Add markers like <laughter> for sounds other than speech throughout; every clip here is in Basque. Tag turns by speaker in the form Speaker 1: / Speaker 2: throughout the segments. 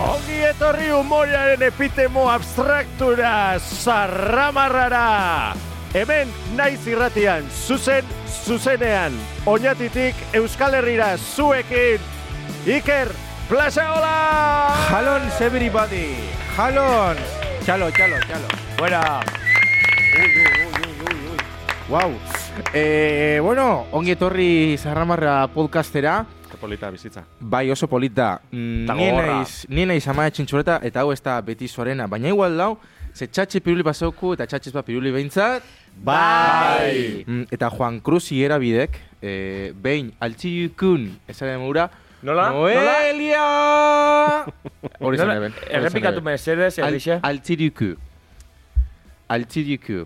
Speaker 1: Ongi etorri humorearen epitemo abstraktura, zarramarrara. Hemen naiz irratian, zuzen, zuzenean, oñatitik Euskal Herrira zuekin, Iker Plazaola!
Speaker 2: Halon, everybody! Halon! Txalo, txalo, txalo.
Speaker 1: Buena!
Speaker 2: Wow. Eh, bueno, ongi etorri Zarramarra podcastera.
Speaker 1: Polita bizitza.
Speaker 2: Bai, oso polita. Mm,
Speaker 1: Eta
Speaker 2: ni
Speaker 1: gogorra.
Speaker 2: naiz, ni naiz amaia txintxureta, eta hau ez da beti zorena. Baina igual dau, ze txatxe piruli pasauku eta txatxe bat piruli behintzat.
Speaker 1: Bai!
Speaker 2: Mm, eta Juan Cruz Hierabidek, eh, behin altxiukun esaren mura,
Speaker 3: Nola? <laughs>
Speaker 2: Noelia! Hori zen
Speaker 3: Nola?
Speaker 2: eben. hori zen
Speaker 3: Errepikatu
Speaker 2: eben.
Speaker 3: mesedez,
Speaker 2: Al-
Speaker 3: Elixe.
Speaker 2: Altziruku. Altziruku.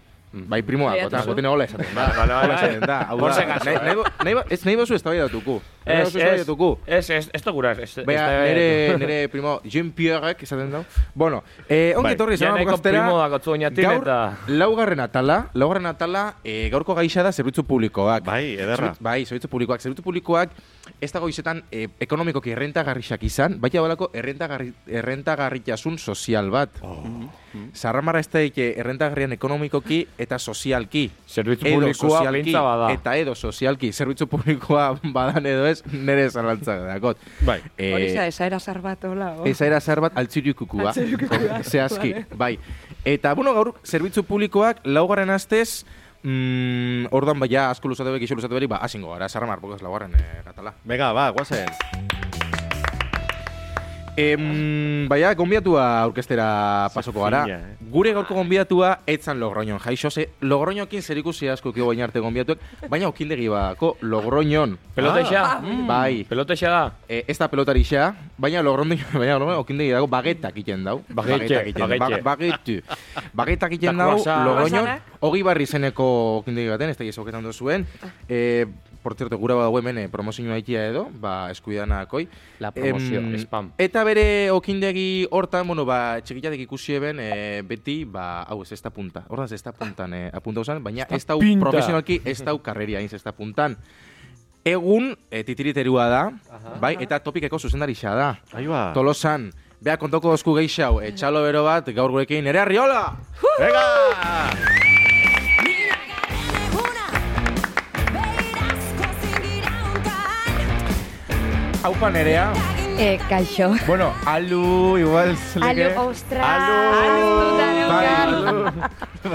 Speaker 2: Bai, primoa,
Speaker 4: Lehiatu
Speaker 2: gota,
Speaker 4: zu.
Speaker 2: goten hola esaten <laughs> da.
Speaker 1: Bale, bale,
Speaker 2: Hola esaten da. Hau
Speaker 3: Por
Speaker 2: da,
Speaker 3: si acaso,
Speaker 2: nahi-
Speaker 3: eh.
Speaker 2: nahi bo- nahi bo- Ez nahi bozu ez da duku. Nahi
Speaker 3: Ez,
Speaker 2: bozu
Speaker 3: ez,
Speaker 2: eztabaidatuko.
Speaker 3: ez, ez, ez toguraz, ez, ez
Speaker 2: Baina,
Speaker 3: da-
Speaker 2: <laughs> nire, nire primo Jean-Pierrek esaten dau. Bueno, eh, ongi
Speaker 1: Bai.
Speaker 2: etorri
Speaker 3: Ja
Speaker 2: zara
Speaker 3: nahiko primo dakotzu oinatin
Speaker 2: Gaur,
Speaker 3: eta-
Speaker 2: laugarren atala, laugarren atala, eh, gaurko gaixa da zerbitzu publikoak.
Speaker 1: Bai, ederra.
Speaker 2: Zerbitz- bai, zerbitzu publikoak. Zerbitzu publikoak ez dago izetan eh, ekonomikoki errentagarrixak izan, baina balako errentagarri, errentagarritasun sozial bat.
Speaker 1: Oh.
Speaker 2: Zarramarra ez daike errentagarrian ekonomikoki eta sozialki.
Speaker 3: Zerbitzu
Speaker 2: Edo
Speaker 3: publikoa
Speaker 2: sozialki
Speaker 3: pentsa bada.
Speaker 2: Eta edo sozialki, zerbitzu publikoa <laughs> badan edo ez, nire zalantzak dakot.
Speaker 1: Bai.
Speaker 2: Eh,
Speaker 4: Hori za, esaera zar bat, hola, oh. ho.
Speaker 2: Eza era zahar bat altzirikukua.
Speaker 4: Altzirikukua,
Speaker 2: <laughs> Zehazki,
Speaker 4: vale.
Speaker 2: bai. Eta, bueno, gaur, zerbitzu publikoak, laugarren astez, mm, ordan bai, ja, asko luzatu behik, iso luzatu behik, ba, hasingo gara, zarramar, bokaz laugarren eh, atala.
Speaker 1: Bega, ba, guazen.
Speaker 2: Em, bai, baina, gonbiatua aurkestera
Speaker 1: Ze
Speaker 2: pasoko gara.
Speaker 1: fina, eh?
Speaker 2: Gure gaurko gonbiatua etzan Logroñon. Jaixo, ze Logroñokin zerikusi asko kio bain arte gonbiatuek, baina okindegi bako Logroñon.
Speaker 3: Pelota isa,
Speaker 2: Bai,
Speaker 3: pelota isa da.
Speaker 2: E, ez da pelotarixa, baina lorrondi, <laughs> baina lorrondi, okindegi dago bagetak egiten dau.
Speaker 3: Bagete,
Speaker 2: Bagetak
Speaker 3: bagete.
Speaker 2: Bagetu. Bagetak egiten
Speaker 3: Eta
Speaker 2: dau,
Speaker 3: croissant.
Speaker 2: lorroñon,
Speaker 4: Croissantak?
Speaker 2: hogi barri zeneko okindegi baten, ez da gizoketan duzuen. E, por cierto, gura badago hemen eh, promozioa ikia edo, ba, eskuidanakoi.
Speaker 3: La promozio,
Speaker 2: Em,
Speaker 3: spam.
Speaker 2: Eta bere okindegi hortan, bueno, ba, txikitatik ikusi eben, eh, beti, ba, hau ez ez da punta. Hortaz ez da puntan, eh, apunta usan, baina ez da
Speaker 3: pinta.
Speaker 2: profesionalki ez da karreria hain ez da puntan. Egun eh, titiriterua da, bai, eta topikeko zuzendarixa da.
Speaker 1: Ahi ba.
Speaker 2: Tolosan, beha kontoko dozku geixau, etxalo bero bat, gaur gurekin, ere arriola!
Speaker 1: Bega!
Speaker 2: Haupa nerea,
Speaker 4: Eh, kaixo.
Speaker 2: bueno, alu, igual,
Speaker 5: Alu,
Speaker 2: zeleke.
Speaker 5: ostra!
Speaker 2: Bai,
Speaker 5: Alu!
Speaker 2: alu.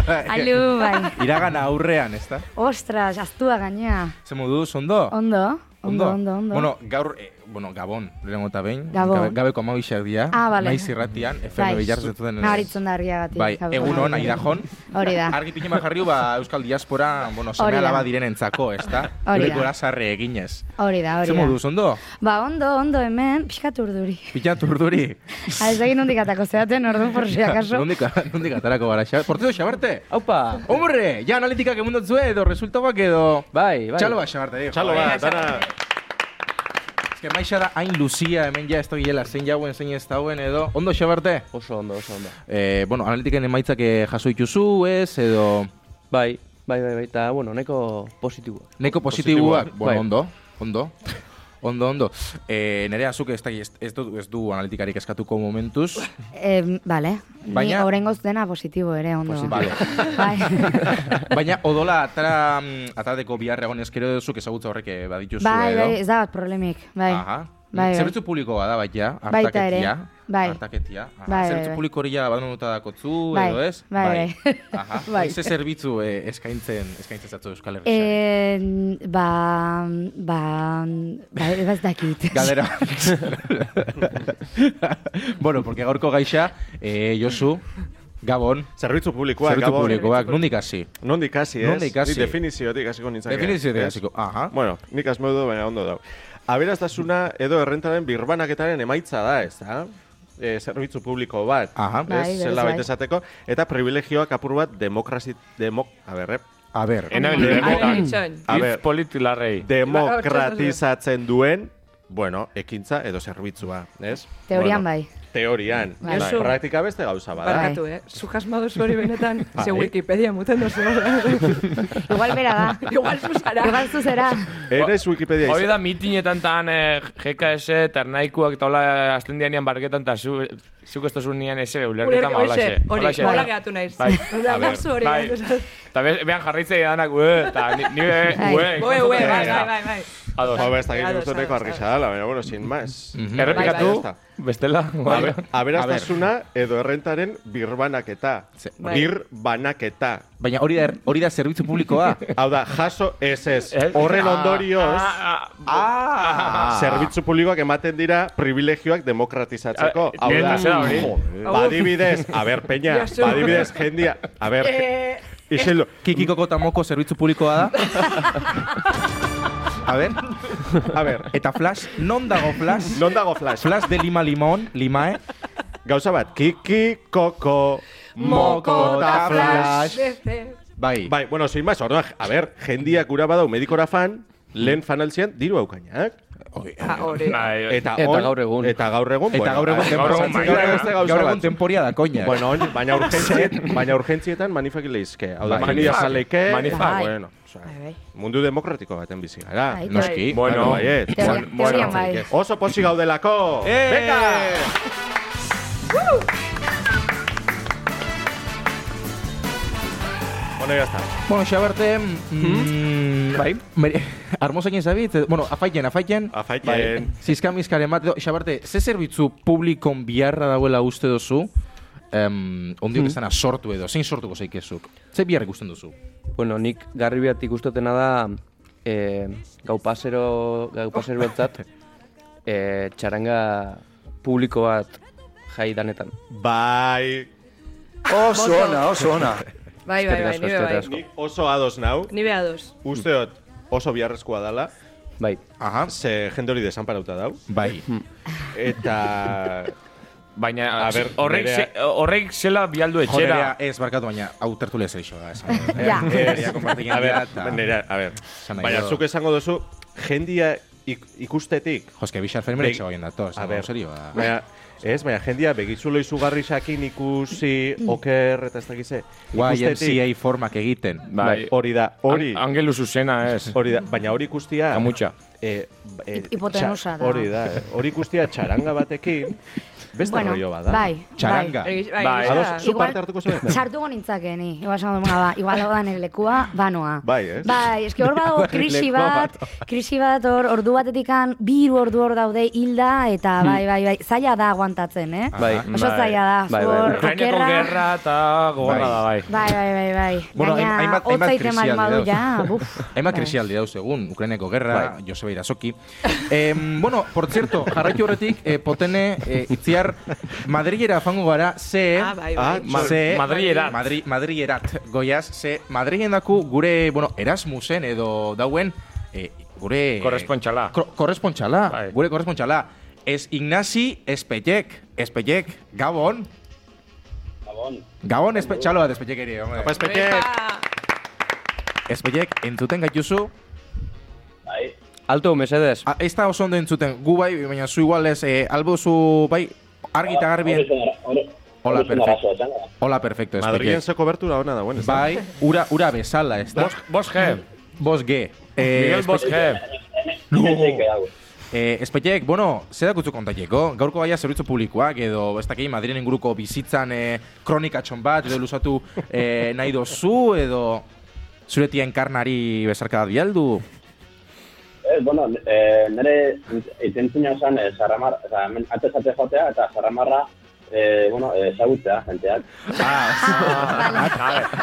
Speaker 2: Bai.
Speaker 5: Alu, bai.
Speaker 2: Iragan aurrean, ez da?
Speaker 5: Ostras, aztua gaina.
Speaker 2: Ze modu, ondo?
Speaker 5: Ondo, ondo, ondo, ondo.
Speaker 2: Bueno, gaur, eh, bueno, Gabon, lehenengo eta behin.
Speaker 5: Gabon.
Speaker 2: Gabe, gabeko amabixak dira.
Speaker 5: Ah, bale.
Speaker 2: Naiz irratian, FM Billars ez duten.
Speaker 5: Bai. Nabaritzen da argiagatik.
Speaker 2: Bai,
Speaker 5: Jabe.
Speaker 2: egun hon, airajon.
Speaker 5: Hori da.
Speaker 2: Argi pike bat jarriu, ba, Euskal Diaspora, bueno,
Speaker 5: Hori
Speaker 2: seme
Speaker 5: da.
Speaker 2: alaba direnentzako, ez da?
Speaker 5: Hori
Speaker 2: Gure
Speaker 5: da.
Speaker 2: gurasarre eginez.
Speaker 5: Hori da,
Speaker 2: Ze
Speaker 5: hori
Speaker 2: moduz,
Speaker 5: da.
Speaker 2: ondo?
Speaker 5: Ba, ondo, ondo hemen, pixkat urduri. <laughs>
Speaker 2: Pila turduri.
Speaker 5: Ah, Ez egin nondik atako zeaten, orduan por si acaso.
Speaker 2: <laughs> Nondik, nondik atarako gara, xabe? Porteo, xabarte?
Speaker 3: Haupa!
Speaker 2: Hombre, ja analitikak emundu zue edo, resultabak edo...
Speaker 3: Bai, bai.
Speaker 2: Txalo ba, xabarte, digo.
Speaker 1: Txalo, ba, dana.
Speaker 2: Ez que maixa da hain luzia, hemen ja ez da hiela, zein jauen, zein ez dauen edo. Ondo, xabarte?
Speaker 3: Oso ondo, oso ondo.
Speaker 2: Eh, bueno, analitiken emaitzak eh, jaso dituzu, ez, edo...
Speaker 3: Bai, bai, bai, bai, eta, bueno, neko positibo.
Speaker 2: Neko positiboak,
Speaker 3: Positiboak,
Speaker 2: bueno,
Speaker 3: bai.
Speaker 2: ondo, ondo. <laughs> Ondo, ondo. Eh, nere azuk ez, da- ez, ez, du, ez du analitikarik eskatuko momentuz.
Speaker 5: Eh, vale. Ni
Speaker 2: Baina-
Speaker 5: horrengoz dena positibo ere, ondo.
Speaker 2: Vale. <laughs>
Speaker 5: Bai.
Speaker 2: Baina odola atara, mm, atateko biharra egon ezkero duzuk ezagutza horrek eh, badituzu
Speaker 5: Bai,
Speaker 2: edo.
Speaker 5: bai, ez da bat problemik, bai.
Speaker 2: Aha.
Speaker 5: Bai, bai.
Speaker 2: Zerbitzu publikoa da, baita,
Speaker 5: Baita ere,
Speaker 2: hartaketia.
Speaker 5: bai.
Speaker 2: Hartaketia. Aha,
Speaker 5: Bai, bai,
Speaker 2: zerbitzu
Speaker 5: bai.
Speaker 2: publiko hori ja badan dakotzu,
Speaker 5: Bai,
Speaker 2: edo ez?
Speaker 5: bai, <laughs> bai.
Speaker 2: Aha.
Speaker 5: Bai.
Speaker 2: Ze zerbitzu eh, eskaintzen, eskaintzen zatu Euskal Herriak.
Speaker 5: Eh, ba, ba, ba, ba ez dakit.
Speaker 2: Galdera. bueno, porque gaurko gaixa, eh, Josu, Gabon,
Speaker 1: Zerbitzu publikoak,
Speaker 2: zerbitzu
Speaker 1: Gabon.
Speaker 2: publikoak, nundik hasi?
Speaker 1: Nondik hasi, ez?
Speaker 2: Nondik hasi?
Speaker 1: Ni definiziotik hasiko nintzake.
Speaker 2: Definiziotik
Speaker 1: ez?
Speaker 2: hasiko, aha.
Speaker 1: Bueno, nik asmo dut, baina ondo dau. Aberastasuna edo errentaren birbanaketaren emaitza da, ez da? E, zerbitzu publiko bat,
Speaker 2: Aha.
Speaker 5: Bai,
Speaker 1: ez?
Speaker 5: berez
Speaker 1: Zela
Speaker 5: bai.
Speaker 1: esateko. Eta privilegioak apur bat demokrazi... Demo, a eh,
Speaker 5: Bai,
Speaker 1: berre,
Speaker 2: A ver,
Speaker 3: Ena
Speaker 4: Ari
Speaker 3: bilde,
Speaker 4: Ah, itxoin.
Speaker 1: A ber.
Speaker 3: hitz politilarrei.
Speaker 5: bai.
Speaker 1: demokratizatzen duen, bueno, ekintza edo zerbitzua, ez?
Speaker 5: Teorian
Speaker 1: Bueno,
Speaker 5: bai.
Speaker 1: teorian.
Speaker 5: Bai.
Speaker 1: Bai.
Speaker 4: Josu.
Speaker 1: Praktika beste gauza bada.
Speaker 4: Barkatu, eh? Zuk asma duzu hori benetan,
Speaker 1: Bai.
Speaker 4: ze Wikipedia muten duzu.
Speaker 5: Igual bera da.
Speaker 2: <laughs>
Speaker 4: Igual zuzara.
Speaker 5: Igual zuzera.
Speaker 2: Bai.
Speaker 1: Eres Wikipedia
Speaker 6: Hori
Speaker 1: izan.
Speaker 6: da mitinetan tan eh, GKS, ternaikuak eta hola azten dianean barketan eta zu, zuk ez tozun nian ese ulerketan ba, ma
Speaker 4: Hori,
Speaker 6: holaxe.
Speaker 4: hori,
Speaker 6: Holaxe.
Speaker 4: hola gehatu naiz. <laughs>
Speaker 6: Bai, a
Speaker 4: Hola,
Speaker 6: ber,
Speaker 4: zu hori.
Speaker 6: bai.
Speaker 4: gehatu zaiz.
Speaker 6: Eta be, behan jarraitzei danak, ue, eta ni, ni be,
Speaker 5: Bai.
Speaker 6: ue.
Speaker 4: Ue, ue, bai, bai, bai, bai.
Speaker 6: Ados.
Speaker 1: Jo, ez dakit
Speaker 4: Ados,
Speaker 1: gustu neko
Speaker 4: ados,
Speaker 1: argisa dela, baina, bueno, sin más.
Speaker 2: Mhm.
Speaker 6: Errepikatu,
Speaker 1: Bai, bai.
Speaker 6: bestela.
Speaker 1: Ba,
Speaker 6: bai. <laughs>
Speaker 1: Aberastasuna edo errentaren birbanaketa.
Speaker 2: Ze-
Speaker 4: Bai.
Speaker 1: Birbanaketa.
Speaker 2: Baina hori da, er- hori da zerbitzu publikoa.
Speaker 1: Hau da, jaso ez ez.
Speaker 6: Ez?
Speaker 1: Horren
Speaker 6: Ah,
Speaker 1: ondorioz, ah.
Speaker 6: ah,
Speaker 1: zerbitzu publikoak ematen dira privilegioak demokratizatzeko.
Speaker 6: Ah,
Speaker 1: Hau da,
Speaker 6: nire da hori.
Speaker 1: Joder. badibidez, a ber, peña,
Speaker 4: Josu.
Speaker 1: badibidez, jendia, a ber,
Speaker 4: Eh,
Speaker 1: isildu.
Speaker 2: Kikikoko eta moko zerbitzu publikoa da. A ber,
Speaker 1: A ber,
Speaker 2: eta flash, non dago flash?
Speaker 1: non dago flash?
Speaker 2: Flash de Lima Limón, Limae.
Speaker 1: Gauza bat, kiki, koko,
Speaker 4: Moko
Speaker 1: mokota,
Speaker 4: da flash.
Speaker 1: flash.
Speaker 4: Ez, ez.
Speaker 2: Bai.
Speaker 1: Bai, bueno, sin más, orduan, a ber, jendia gura badau medikora fan, lehen fanaltzean diru eh? haukainak.
Speaker 4: Ah,
Speaker 1: Eh,
Speaker 4: Hori.
Speaker 6: Bai, bai.
Speaker 1: Eta,
Speaker 3: Eta
Speaker 1: hon-
Speaker 3: gaur egun.
Speaker 1: Eta gaur egun,
Speaker 2: Eta gaur egun
Speaker 1: bai,
Speaker 6: gaur egun
Speaker 2: temporia-
Speaker 6: bai,
Speaker 1: gaur egun
Speaker 6: bai.
Speaker 1: beste gauza
Speaker 2: Gaur egun
Speaker 1: bat.
Speaker 2: temporia da, koña.
Speaker 1: Bueno, oin, baina urgentziet, baina urgentzietan manifak leizke. Hau da,
Speaker 2: Bai.
Speaker 1: jendia
Speaker 6: Manifak.
Speaker 1: zaleike,
Speaker 6: Manifak.
Speaker 1: Bai. bueno, osea,
Speaker 5: Bai, bai.
Speaker 1: mundu demokratiko baten bizi gara.
Speaker 5: Bai.
Speaker 2: Noski.
Speaker 1: Bueno,
Speaker 6: Bueno,
Speaker 1: baiet.
Speaker 5: Teoria-
Speaker 6: Bueno, bueno.
Speaker 5: Teorian bai.
Speaker 1: Oso posi gaudelako!
Speaker 2: Eh!
Speaker 1: Venga! Bueno, ya está.
Speaker 2: Bueno, xa berte... Mm,
Speaker 3: Bai.
Speaker 2: <laughs> Meri, armozakin zabit, eh, bueno, afaiten, afaiten.
Speaker 1: Afaiten.
Speaker 2: Zizka mizkaren bat, edo, xa berte, ze zerbitzu publikon biharra dauela uste duzu, em, ondio mm. sortu edo, zein sortuko zeikezuk? Ze bihar ikusten duzu?
Speaker 3: Bueno, nik garri biat ikustotena da eh, gau pasero, gau pasero <laughs> batzat eh, txaranga publiko bat jai danetan.
Speaker 1: Bai.
Speaker 7: Oso ona, oso ona.
Speaker 4: <laughs> Bai, bai, bai,
Speaker 3: Eskerrik asko,
Speaker 4: nire
Speaker 3: eskerrik
Speaker 4: bai.
Speaker 3: asko.
Speaker 1: Ni oso ados nau.
Speaker 4: Nire ados.
Speaker 1: Uste dut oso biharrezkoa dala.
Speaker 3: Bai,
Speaker 2: Aha.
Speaker 1: Ze jende hori desanparauta dau.
Speaker 2: Bai.
Speaker 5: <laughs>
Speaker 1: Eta...
Speaker 6: Baina,
Speaker 1: A ber,
Speaker 6: horrek,
Speaker 1: nerea-
Speaker 6: ze- horrek zela bialdu etxera.
Speaker 2: Joderea, ez, barkatu baina, hau tertulia zer iso da. esan.
Speaker 5: Ja.
Speaker 2: Eh, <laughs> nerea konpartitzen dira
Speaker 1: a ver,
Speaker 2: eta-
Speaker 1: nera, a ver.
Speaker 2: Esan nahi
Speaker 1: Baina
Speaker 2: dut.
Speaker 1: zuk esango duzu, jendia ik, ikustetik.
Speaker 2: Joske, Bixar Fermere
Speaker 1: Beg-
Speaker 2: etxego egin datoz.
Speaker 1: A Bai.
Speaker 2: no?
Speaker 1: ber,
Speaker 2: serio, ba.
Speaker 1: baina, ez, baina jendia begizulo izugarri sakin ikusi,
Speaker 5: Mm.
Speaker 1: oker, eta ez dakize.
Speaker 2: YMCA formak egiten.
Speaker 1: Bai, hori da, hori,
Speaker 6: An- Angelu zuzena, ez.
Speaker 1: hori da, baina hori ikustia...
Speaker 6: Kamutxa.
Speaker 1: Eh, eh,
Speaker 5: Hi- hipotenusa
Speaker 1: txa-
Speaker 5: da.
Speaker 1: Hori da, eh, hori ikustia txaranga batekin, beste
Speaker 5: Bueno,
Speaker 1: rollo bada.
Speaker 5: bai.
Speaker 2: Txaranga.
Speaker 4: Bai,
Speaker 6: Bai,
Speaker 4: nire
Speaker 1: ados,
Speaker 4: da.
Speaker 1: zu parte hartuko zuen?
Speaker 5: Sartuko nintzake ni. Igual esan dut, "Bueno, ba, igual hau da nire lekua, banoa.
Speaker 1: Bai, ez?
Speaker 5: Bai, eski hor badago krisi
Speaker 2: Lekua
Speaker 5: bat, krisi bat hor ordu batetikan bi hiru ordu hor daude hilda eta bai, bai, bai, zaila da aguantatzen, eh?
Speaker 3: bai.
Speaker 5: Oso
Speaker 6: Bai.
Speaker 5: zaila da,
Speaker 3: Bai, bai,
Speaker 5: hor
Speaker 6: Ukrainako
Speaker 5: okerra.
Speaker 6: gerra eta gogorra da, bai.
Speaker 5: Bai, bai, bai, bai.
Speaker 2: Bueno, hain-
Speaker 5: Gaina,
Speaker 2: hainbat- hainbat
Speaker 5: hotza iten
Speaker 2: krisialdi
Speaker 5: badu
Speaker 2: dauz.
Speaker 5: ja, buf.
Speaker 2: <laughs> Hainbat
Speaker 5: Bai.
Speaker 2: krisialdi dauz egun, Ukraineko gerra, Joseba Irazoki. Em, bueno, por cierto, jarraitu horretik, eh, potene, eh, itziar, Madrilera fango gara, ze...
Speaker 4: Ah, bai,
Speaker 1: Ah,
Speaker 4: bai.
Speaker 1: ma-
Speaker 2: ze-
Speaker 6: Madrilerat.
Speaker 2: Madri, Madrilerat, goiaz, ze Madrilen daku gure, bueno, Erasmusen edo dauen, eh, gure...
Speaker 6: Korrespontxala.
Speaker 2: Kor- korrespontxala,
Speaker 6: Bai.
Speaker 2: gure korrespontxala. Ez Ignasi Espeitek, Espeitek, Gabon. Gabon. Gabon espe, txalo bat Espeitek ere, hombre.
Speaker 1: Apa, espeke,
Speaker 4: Epa!
Speaker 2: Espeitek, entzuten gaituzu.
Speaker 3: alto mesedes.
Speaker 2: A, ez da Ah, oso ondo entzuten, gu bai, baina zu igual ez, eh, albo zu, bai, argi eta garbi. Hola, perfecto. Hola, perfecto,
Speaker 1: Madrilen
Speaker 2: Espeitek.
Speaker 1: ze kobertura ona dagoen, ez da?
Speaker 2: Bai, ura, ura bezala, ez da?
Speaker 6: Bos- Bosge,
Speaker 2: Bos G. Eh,
Speaker 6: Miguel Bosge.
Speaker 2: Ba, Eh, Espeitek, bueno, ze dakutzu kontateko? Gaurko gaia zerbitzu publikoak edo ez dakit Madrilen inguruko bizitzan eh, kronikatxon bat edo luzatu eh, nahi dozu edo zure tien karnari bezarka bat bialdu?
Speaker 8: Ez, bueno, e, nire itentzina zen e, sarramar, oza, hemen atez atez jotea eta sarramarra, e, bueno, e, zagutzea, jenteak.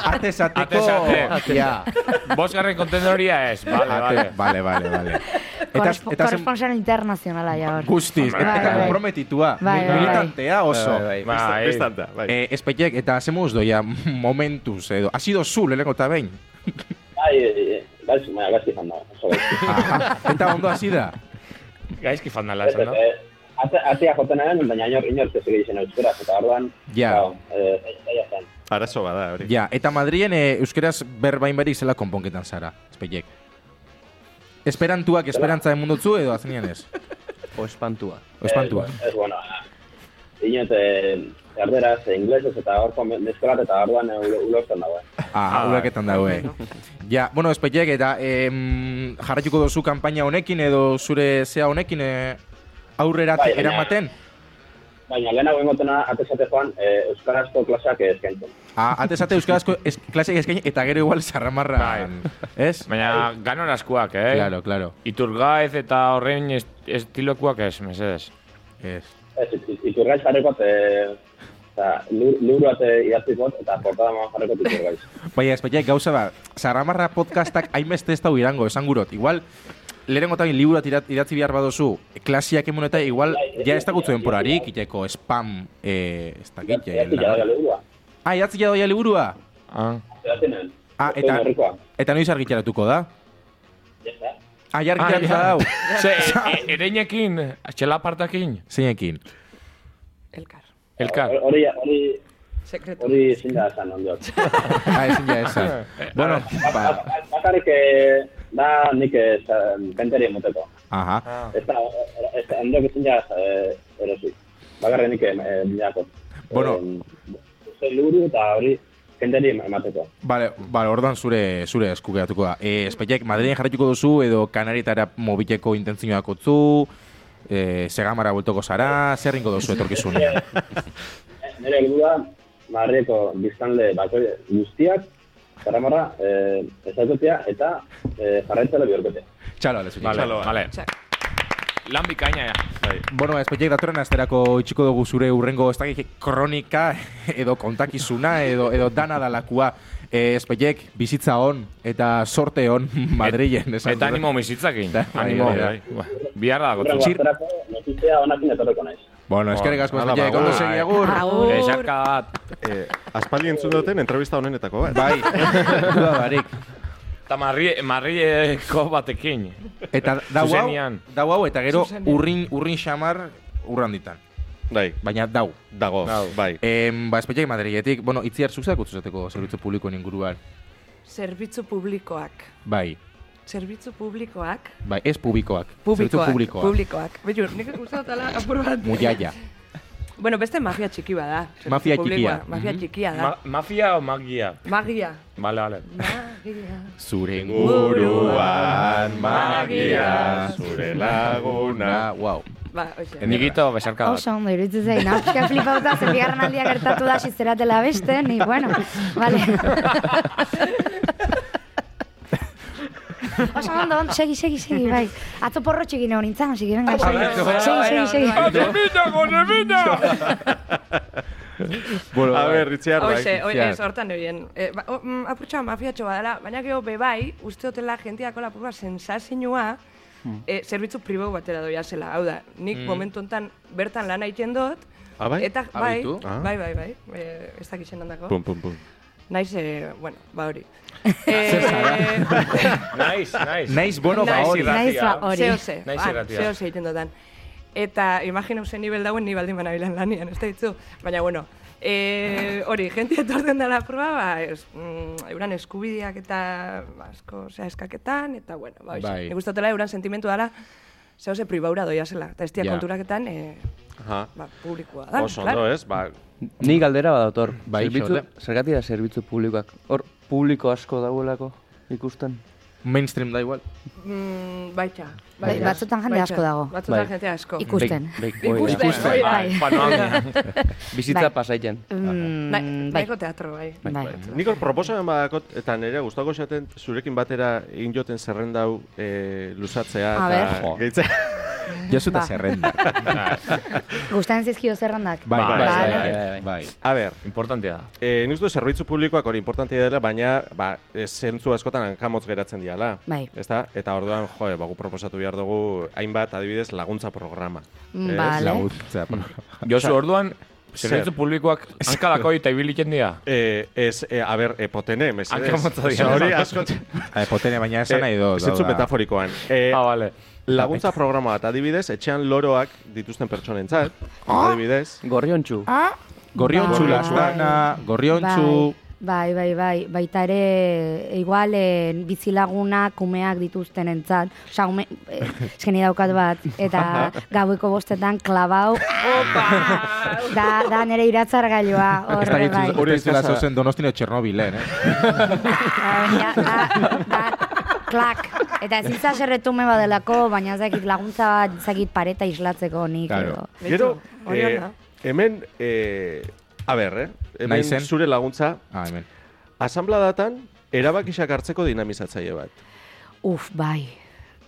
Speaker 2: Arte esateko...
Speaker 6: Atez ate.
Speaker 2: Ja.
Speaker 6: Bosgarren kontendoria ez. Vale, vale.
Speaker 2: Ate- Vale, vale, vale. Eta,
Speaker 5: Korrespo-
Speaker 2: eta zen-
Speaker 5: Korresponsal internazionala ja hor.
Speaker 2: guztiz,
Speaker 6: Bai,
Speaker 2: eta
Speaker 5: bai.
Speaker 2: komprometitua,
Speaker 5: Bai, bai, bai.
Speaker 2: militantea oso.
Speaker 3: Bai, bai,
Speaker 6: Bai.
Speaker 1: Bistanta, bai.
Speaker 2: Eh, Espeitek, eta zemuz doia <laughs> momentuz edo, ha sido zu lehenengo eta
Speaker 6: <laughs>
Speaker 2: behin.
Speaker 8: Bai, e, e, gaizki, baina gaizki izan da, oso gaizki.
Speaker 2: Aha. Ah, eta ondo hasi da.
Speaker 6: Bai. Gaizki fandala
Speaker 8: Ez,
Speaker 6: esan,
Speaker 8: ez,
Speaker 6: no?
Speaker 8: e, ate- atea joten egin, baina inor, inor ez egin zen euskeraz, eta orduan,
Speaker 2: Ja.
Speaker 8: claro, e, e, zaila zen.
Speaker 1: Arazo bada,
Speaker 8: Eh,
Speaker 1: hori.
Speaker 2: Ja, eta Madrien e, euskeraz berbain berik zela konponketan zara, espeiek. Esperantuak
Speaker 8: <laughs>
Speaker 2: esperantza emundutzu edo azkenean ez.
Speaker 3: <laughs> O espantua.
Speaker 8: Eh,
Speaker 2: O espantua.
Speaker 8: Ez, bueno, e, inot e, erderaz, e, inglesez eta horko neskolat eta orduan e, ulo- ulertzen dago.
Speaker 2: Ah, uleketan daue. Ja, bueno, espetiek, eta em, jarraituko duzu kanpaina honekin edo zure zea honekin eh, aurrera
Speaker 8: Bai, baina-
Speaker 2: eramaten?
Speaker 8: Baina lehenago ingotena atesate joan e, euskarazko klasak eskaintzen.
Speaker 2: Ah, atesate euskarazko es, klasek eskaini eta gero igual zarramarra. Ez?
Speaker 6: Baina
Speaker 1: Bai.
Speaker 6: ganon askoak, eh?
Speaker 2: Claro, claro.
Speaker 6: Iturgaiz eta horren est- estilokoak ez, mesedez.
Speaker 2: Ez.
Speaker 8: Ez, it- it- iturgaiz jarrekot, e, eta liburuat e, idatzikot eta portada man jarrekot
Speaker 2: <laughs>
Speaker 8: iturgaiz.
Speaker 2: Bai, Baina, espetiek, gauza da, zarramarra
Speaker 6: <laughs>
Speaker 2: podcastak hainbeste ez dau irango, esan gurot. Igual, lehenengo tabi liburat irat, idatzi behar badozu, klasiak emuneta, igual, ja ez dakutzu denporarik, iteko spam, eh, ez dakit, eh,
Speaker 8: Idatzi jadaga liburua.
Speaker 2: Ah, idatzi jadoia liburua?
Speaker 6: Ah.
Speaker 8: Idatzi nuen.
Speaker 2: Ah,
Speaker 8: Zein
Speaker 2: eta,
Speaker 8: herrikoa.
Speaker 2: eta noiz argitaratuko da? Ah, ja argitaratuko
Speaker 6: Ah, ja.
Speaker 2: dau.
Speaker 1: <laughs>
Speaker 6: Ze, e- e- ereinekin, txelapartakin,
Speaker 2: Zeinekin.
Speaker 4: Elkar.
Speaker 6: elkar.
Speaker 8: Hori, hori,
Speaker 4: Sekretu.
Speaker 8: hori ezin da esan ondoz.
Speaker 2: Ah, ezin ja esan.
Speaker 6: <laughs>
Speaker 2: bueno, <laughs> ba,
Speaker 8: Bakarrik eh, da nik eh, za- benteri emoteko.
Speaker 2: aha.
Speaker 8: Ez da, ez da, ondok ezin jaz eh, erosi. Bakarrik nik eh, binako.
Speaker 2: Bueno.
Speaker 8: Zer liburu eta hori benteri emateko.
Speaker 2: Vale, vale, ordan zure zure esku geratuko da. Eh, espetiek Madrilen jarraituko duzu edo Kanarietara mobileko intentzioak utzu, eh, Segamara bueltoko zara, zer ringo duzu etorkizunean.
Speaker 8: Nire helburua Madrileko biztanle bako guztiak, zaramarra, eh, ezagutzea eta eh, jarraitzela bihurketea.
Speaker 2: Txalo, alezu.
Speaker 6: Vale,
Speaker 1: Txalo,
Speaker 6: vale. Bai.
Speaker 4: Osea,
Speaker 6: Lan bikaina, ja.
Speaker 2: Bueno, espetiek datorren asterako itxiko dugu zure urrengo ez dakik kronika edo kontakizuna edo edo dana dalakua. Eh, espetiek bizitza on eta sorte on Madrilen esan
Speaker 6: Eta
Speaker 2: dut.
Speaker 6: animo misitzakin.
Speaker 2: Eta-
Speaker 6: Animo.
Speaker 2: Bai, bai,
Speaker 6: Biarra dago.
Speaker 8: Horrengo
Speaker 2: Txir-
Speaker 8: asterako notizia honakin etorreko naiz.
Speaker 2: Bueno, eskerrik asko
Speaker 1: Ala,
Speaker 2: espetiek,
Speaker 1: ba,
Speaker 2: ondo
Speaker 1: bai.
Speaker 2: segi agur.
Speaker 4: Agur.
Speaker 6: Esarka bat.
Speaker 1: Eh, aspaldi entzun duten entrevista honenetako bat.
Speaker 2: Bai, duda
Speaker 3: Ba,
Speaker 2: barik.
Speaker 6: Eta marrie, marrieko batekin.
Speaker 2: Eta dau hau,
Speaker 6: Zuzenean.
Speaker 2: dau hau, eta gero
Speaker 4: Zuzenean.
Speaker 2: urrin, urrin xamar urran ditan.
Speaker 1: Bai,
Speaker 2: Baina dau.
Speaker 1: dago, bai.
Speaker 2: Em, ba, espetxeak Madriletik, bueno, itziar zuzak utzuzateko zerbitzu publikoen inguruan.
Speaker 4: Zerbitzu publikoak.
Speaker 2: Bai,
Speaker 4: Zerbitzu publikoak.
Speaker 2: bai, ez publikoak. Zerbitzu publikoak.
Speaker 4: Publikoak. Publikoak. Bellu, nik uste dut ala apur bat.
Speaker 2: Muyaya.
Speaker 4: Bueno, beste mafia txiki bat da. zerbitzu
Speaker 2: Mafia txikia.
Speaker 4: publikoa. Mafia
Speaker 2: Mhm.
Speaker 4: txikia da.
Speaker 6: Ma mafia o magia?
Speaker 4: Magia.
Speaker 6: Vale, vale.
Speaker 4: Magia.
Speaker 2: Zure
Speaker 4: inguruan
Speaker 2: inguruan
Speaker 4: magia,
Speaker 2: magia,
Speaker 1: zure
Speaker 2: zure
Speaker 1: laguna.
Speaker 2: laguna. Wow.
Speaker 4: Ba, oixe.
Speaker 6: Nikito besarka bat.
Speaker 5: Oso ondo iruditzen zain, hau pixka flipauta, ze bigarren aldia gertatu da sizeratela beste, ni, bueno, vale. Oso ondo, ondo, segi, segi, segi, bai. Atzo porro txegin egon nintzen, hasi que venga, segi, segi, segi,
Speaker 6: Ah,
Speaker 5: segi.
Speaker 6: ¡Adivina, gonemina!
Speaker 1: A ber, Itziar, bai.
Speaker 4: Hoxe, oi-
Speaker 2: Ziar.
Speaker 4: ez, hortan neurien. Eh, ba, o- mm, apurtxoa mafiatxo badala, baina gero bebai, uste hotela jentiako lapurba sensazinua, eh, zerbitzu pribau batera doia zela. Hau da, nik momentu hontan bertan lan egiten dut,
Speaker 1: Ah, bai?
Speaker 4: Eta, bai,
Speaker 2: Abitu?
Speaker 1: Ah.
Speaker 4: bai, bai, bai, eh, ez dakit zen handako.
Speaker 1: Pum, pum, pum.
Speaker 4: Naiz, eh, bueno, ba hori. Eh,
Speaker 2: Zer zara?
Speaker 4: <laughs>
Speaker 6: Naiz, naiz.
Speaker 2: Naiz bueno ba
Speaker 4: Naiz
Speaker 2: hori.
Speaker 6: irra-
Speaker 5: Naiz ba hori.
Speaker 4: Zeose,
Speaker 6: Naiz irratia.
Speaker 4: zeose egiten dudan. Eta imagina uzen nivel dauen ni baldin banabilan lanian, ez da hitzu. Baina, bueno, eh, hori, jente etorten dela proba, ba, es, mm, euran eskubideak eta ba, asko, osea, eskaketan, eta, bueno, ba,
Speaker 2: Bai.
Speaker 4: bai. nik gustotela euran sentimentu dela, zeose pribaura doia zela. Eta ez dia
Speaker 2: Ja.
Speaker 4: konturaketan, eh,
Speaker 1: Aha.
Speaker 4: ba, publikoa da,
Speaker 1: Oso ondo, ez? Ba,
Speaker 3: Ni galdera badautor.
Speaker 2: Bai,
Speaker 3: zerbitzu,
Speaker 2: sorte.
Speaker 3: zergatik da zerbitzu publikoak. Hor, publiko asko dauelako ikusten.
Speaker 2: Mainstream da igual.
Speaker 4: Mm, baita.
Speaker 5: Bai,
Speaker 4: baita.
Speaker 5: batzutan jende
Speaker 4: Baita.
Speaker 5: asko dago.
Speaker 4: Batzutan
Speaker 3: Bai.
Speaker 4: jende asko.
Speaker 5: Ikusten.
Speaker 4: Ikusten, oi, bai.
Speaker 6: Panoan.
Speaker 3: Bizitza
Speaker 5: Bai.
Speaker 3: pasaiten.
Speaker 5: Mm,
Speaker 4: Na-
Speaker 5: bai,
Speaker 4: Nahiko teatro, bai.
Speaker 5: bai.
Speaker 1: Nik hor proposamen badakot, eta nire gustako esaten zurekin batera egin joten zerrendau e, luzatzea
Speaker 5: A ber.
Speaker 1: eta
Speaker 2: Jo.
Speaker 1: gehitzea.
Speaker 2: Josuta
Speaker 5: Ba.
Speaker 2: zerrenda.
Speaker 5: Gustatzen zizkio zerrandak.
Speaker 2: Bai,
Speaker 6: Bai,
Speaker 2: bai,
Speaker 5: bai,
Speaker 2: bai,
Speaker 3: bai,
Speaker 2: bai.
Speaker 1: A ber,
Speaker 6: Importantea da.
Speaker 1: e, nik uste dut zerbitzu publikoak hori importantia dela, baina ba, e, zentzu askotan hankamotz geratzen diala.
Speaker 5: Bai.
Speaker 1: Ezta? Eta orduan, jo, ba, gu proposatu behar dugu hainbat adibidez laguntza programa. Ez?
Speaker 5: Vale.
Speaker 2: Laguntza.
Speaker 6: Josu, orduan,
Speaker 1: Zer.
Speaker 6: zerbitzu publikoak hankalako eta ibiliken dira.
Speaker 1: Eh, ez, eh, a ber, eh, potene, mesedez.
Speaker 6: Hankamotza
Speaker 1: Osea,
Speaker 6: diala.
Speaker 1: Hori askot...
Speaker 2: Eh, Potene baina esan nahi do.
Speaker 1: Zentzu metaforikoan. Eh,
Speaker 6: Ah, vale.
Speaker 1: Laguntza programa bat, adibidez, etxean loroak dituzten pertsonentzat, adibidez.
Speaker 3: Gorriontxu.
Speaker 2: Gorrion
Speaker 5: Bai.
Speaker 2: lastana, gorrion
Speaker 5: Bai. Bai, bai, bai, baita ere, e, igual, e, bizilagunak umeak dituzten entzat. Osa, ume, e, eskeni daukat bat,
Speaker 2: <laughs>
Speaker 5: eta gaueko bostetan klabau. <laughs> da, da nere iratzargailua,
Speaker 2: Ez da
Speaker 5: horre, bai.
Speaker 2: hori ez dela zauzen donostino Txernobilen, eh?
Speaker 5: Ja, ah, da, da, klak. Eta ez izaz erretume badelako, baina ez dakit laguntza bat, ez dakit pareta islatzeko nik.
Speaker 2: Claro.
Speaker 5: edo.
Speaker 1: Gero,
Speaker 4: Beitu, hori
Speaker 1: eh,
Speaker 4: ona.
Speaker 1: hemen, eh, a ber, eh? Hemen
Speaker 2: Naizen.
Speaker 1: zure laguntza,
Speaker 2: Ah, hemen.
Speaker 1: asambladatan, erabakisak hartzeko dinamizatzaile bat.
Speaker 5: Uf, bai,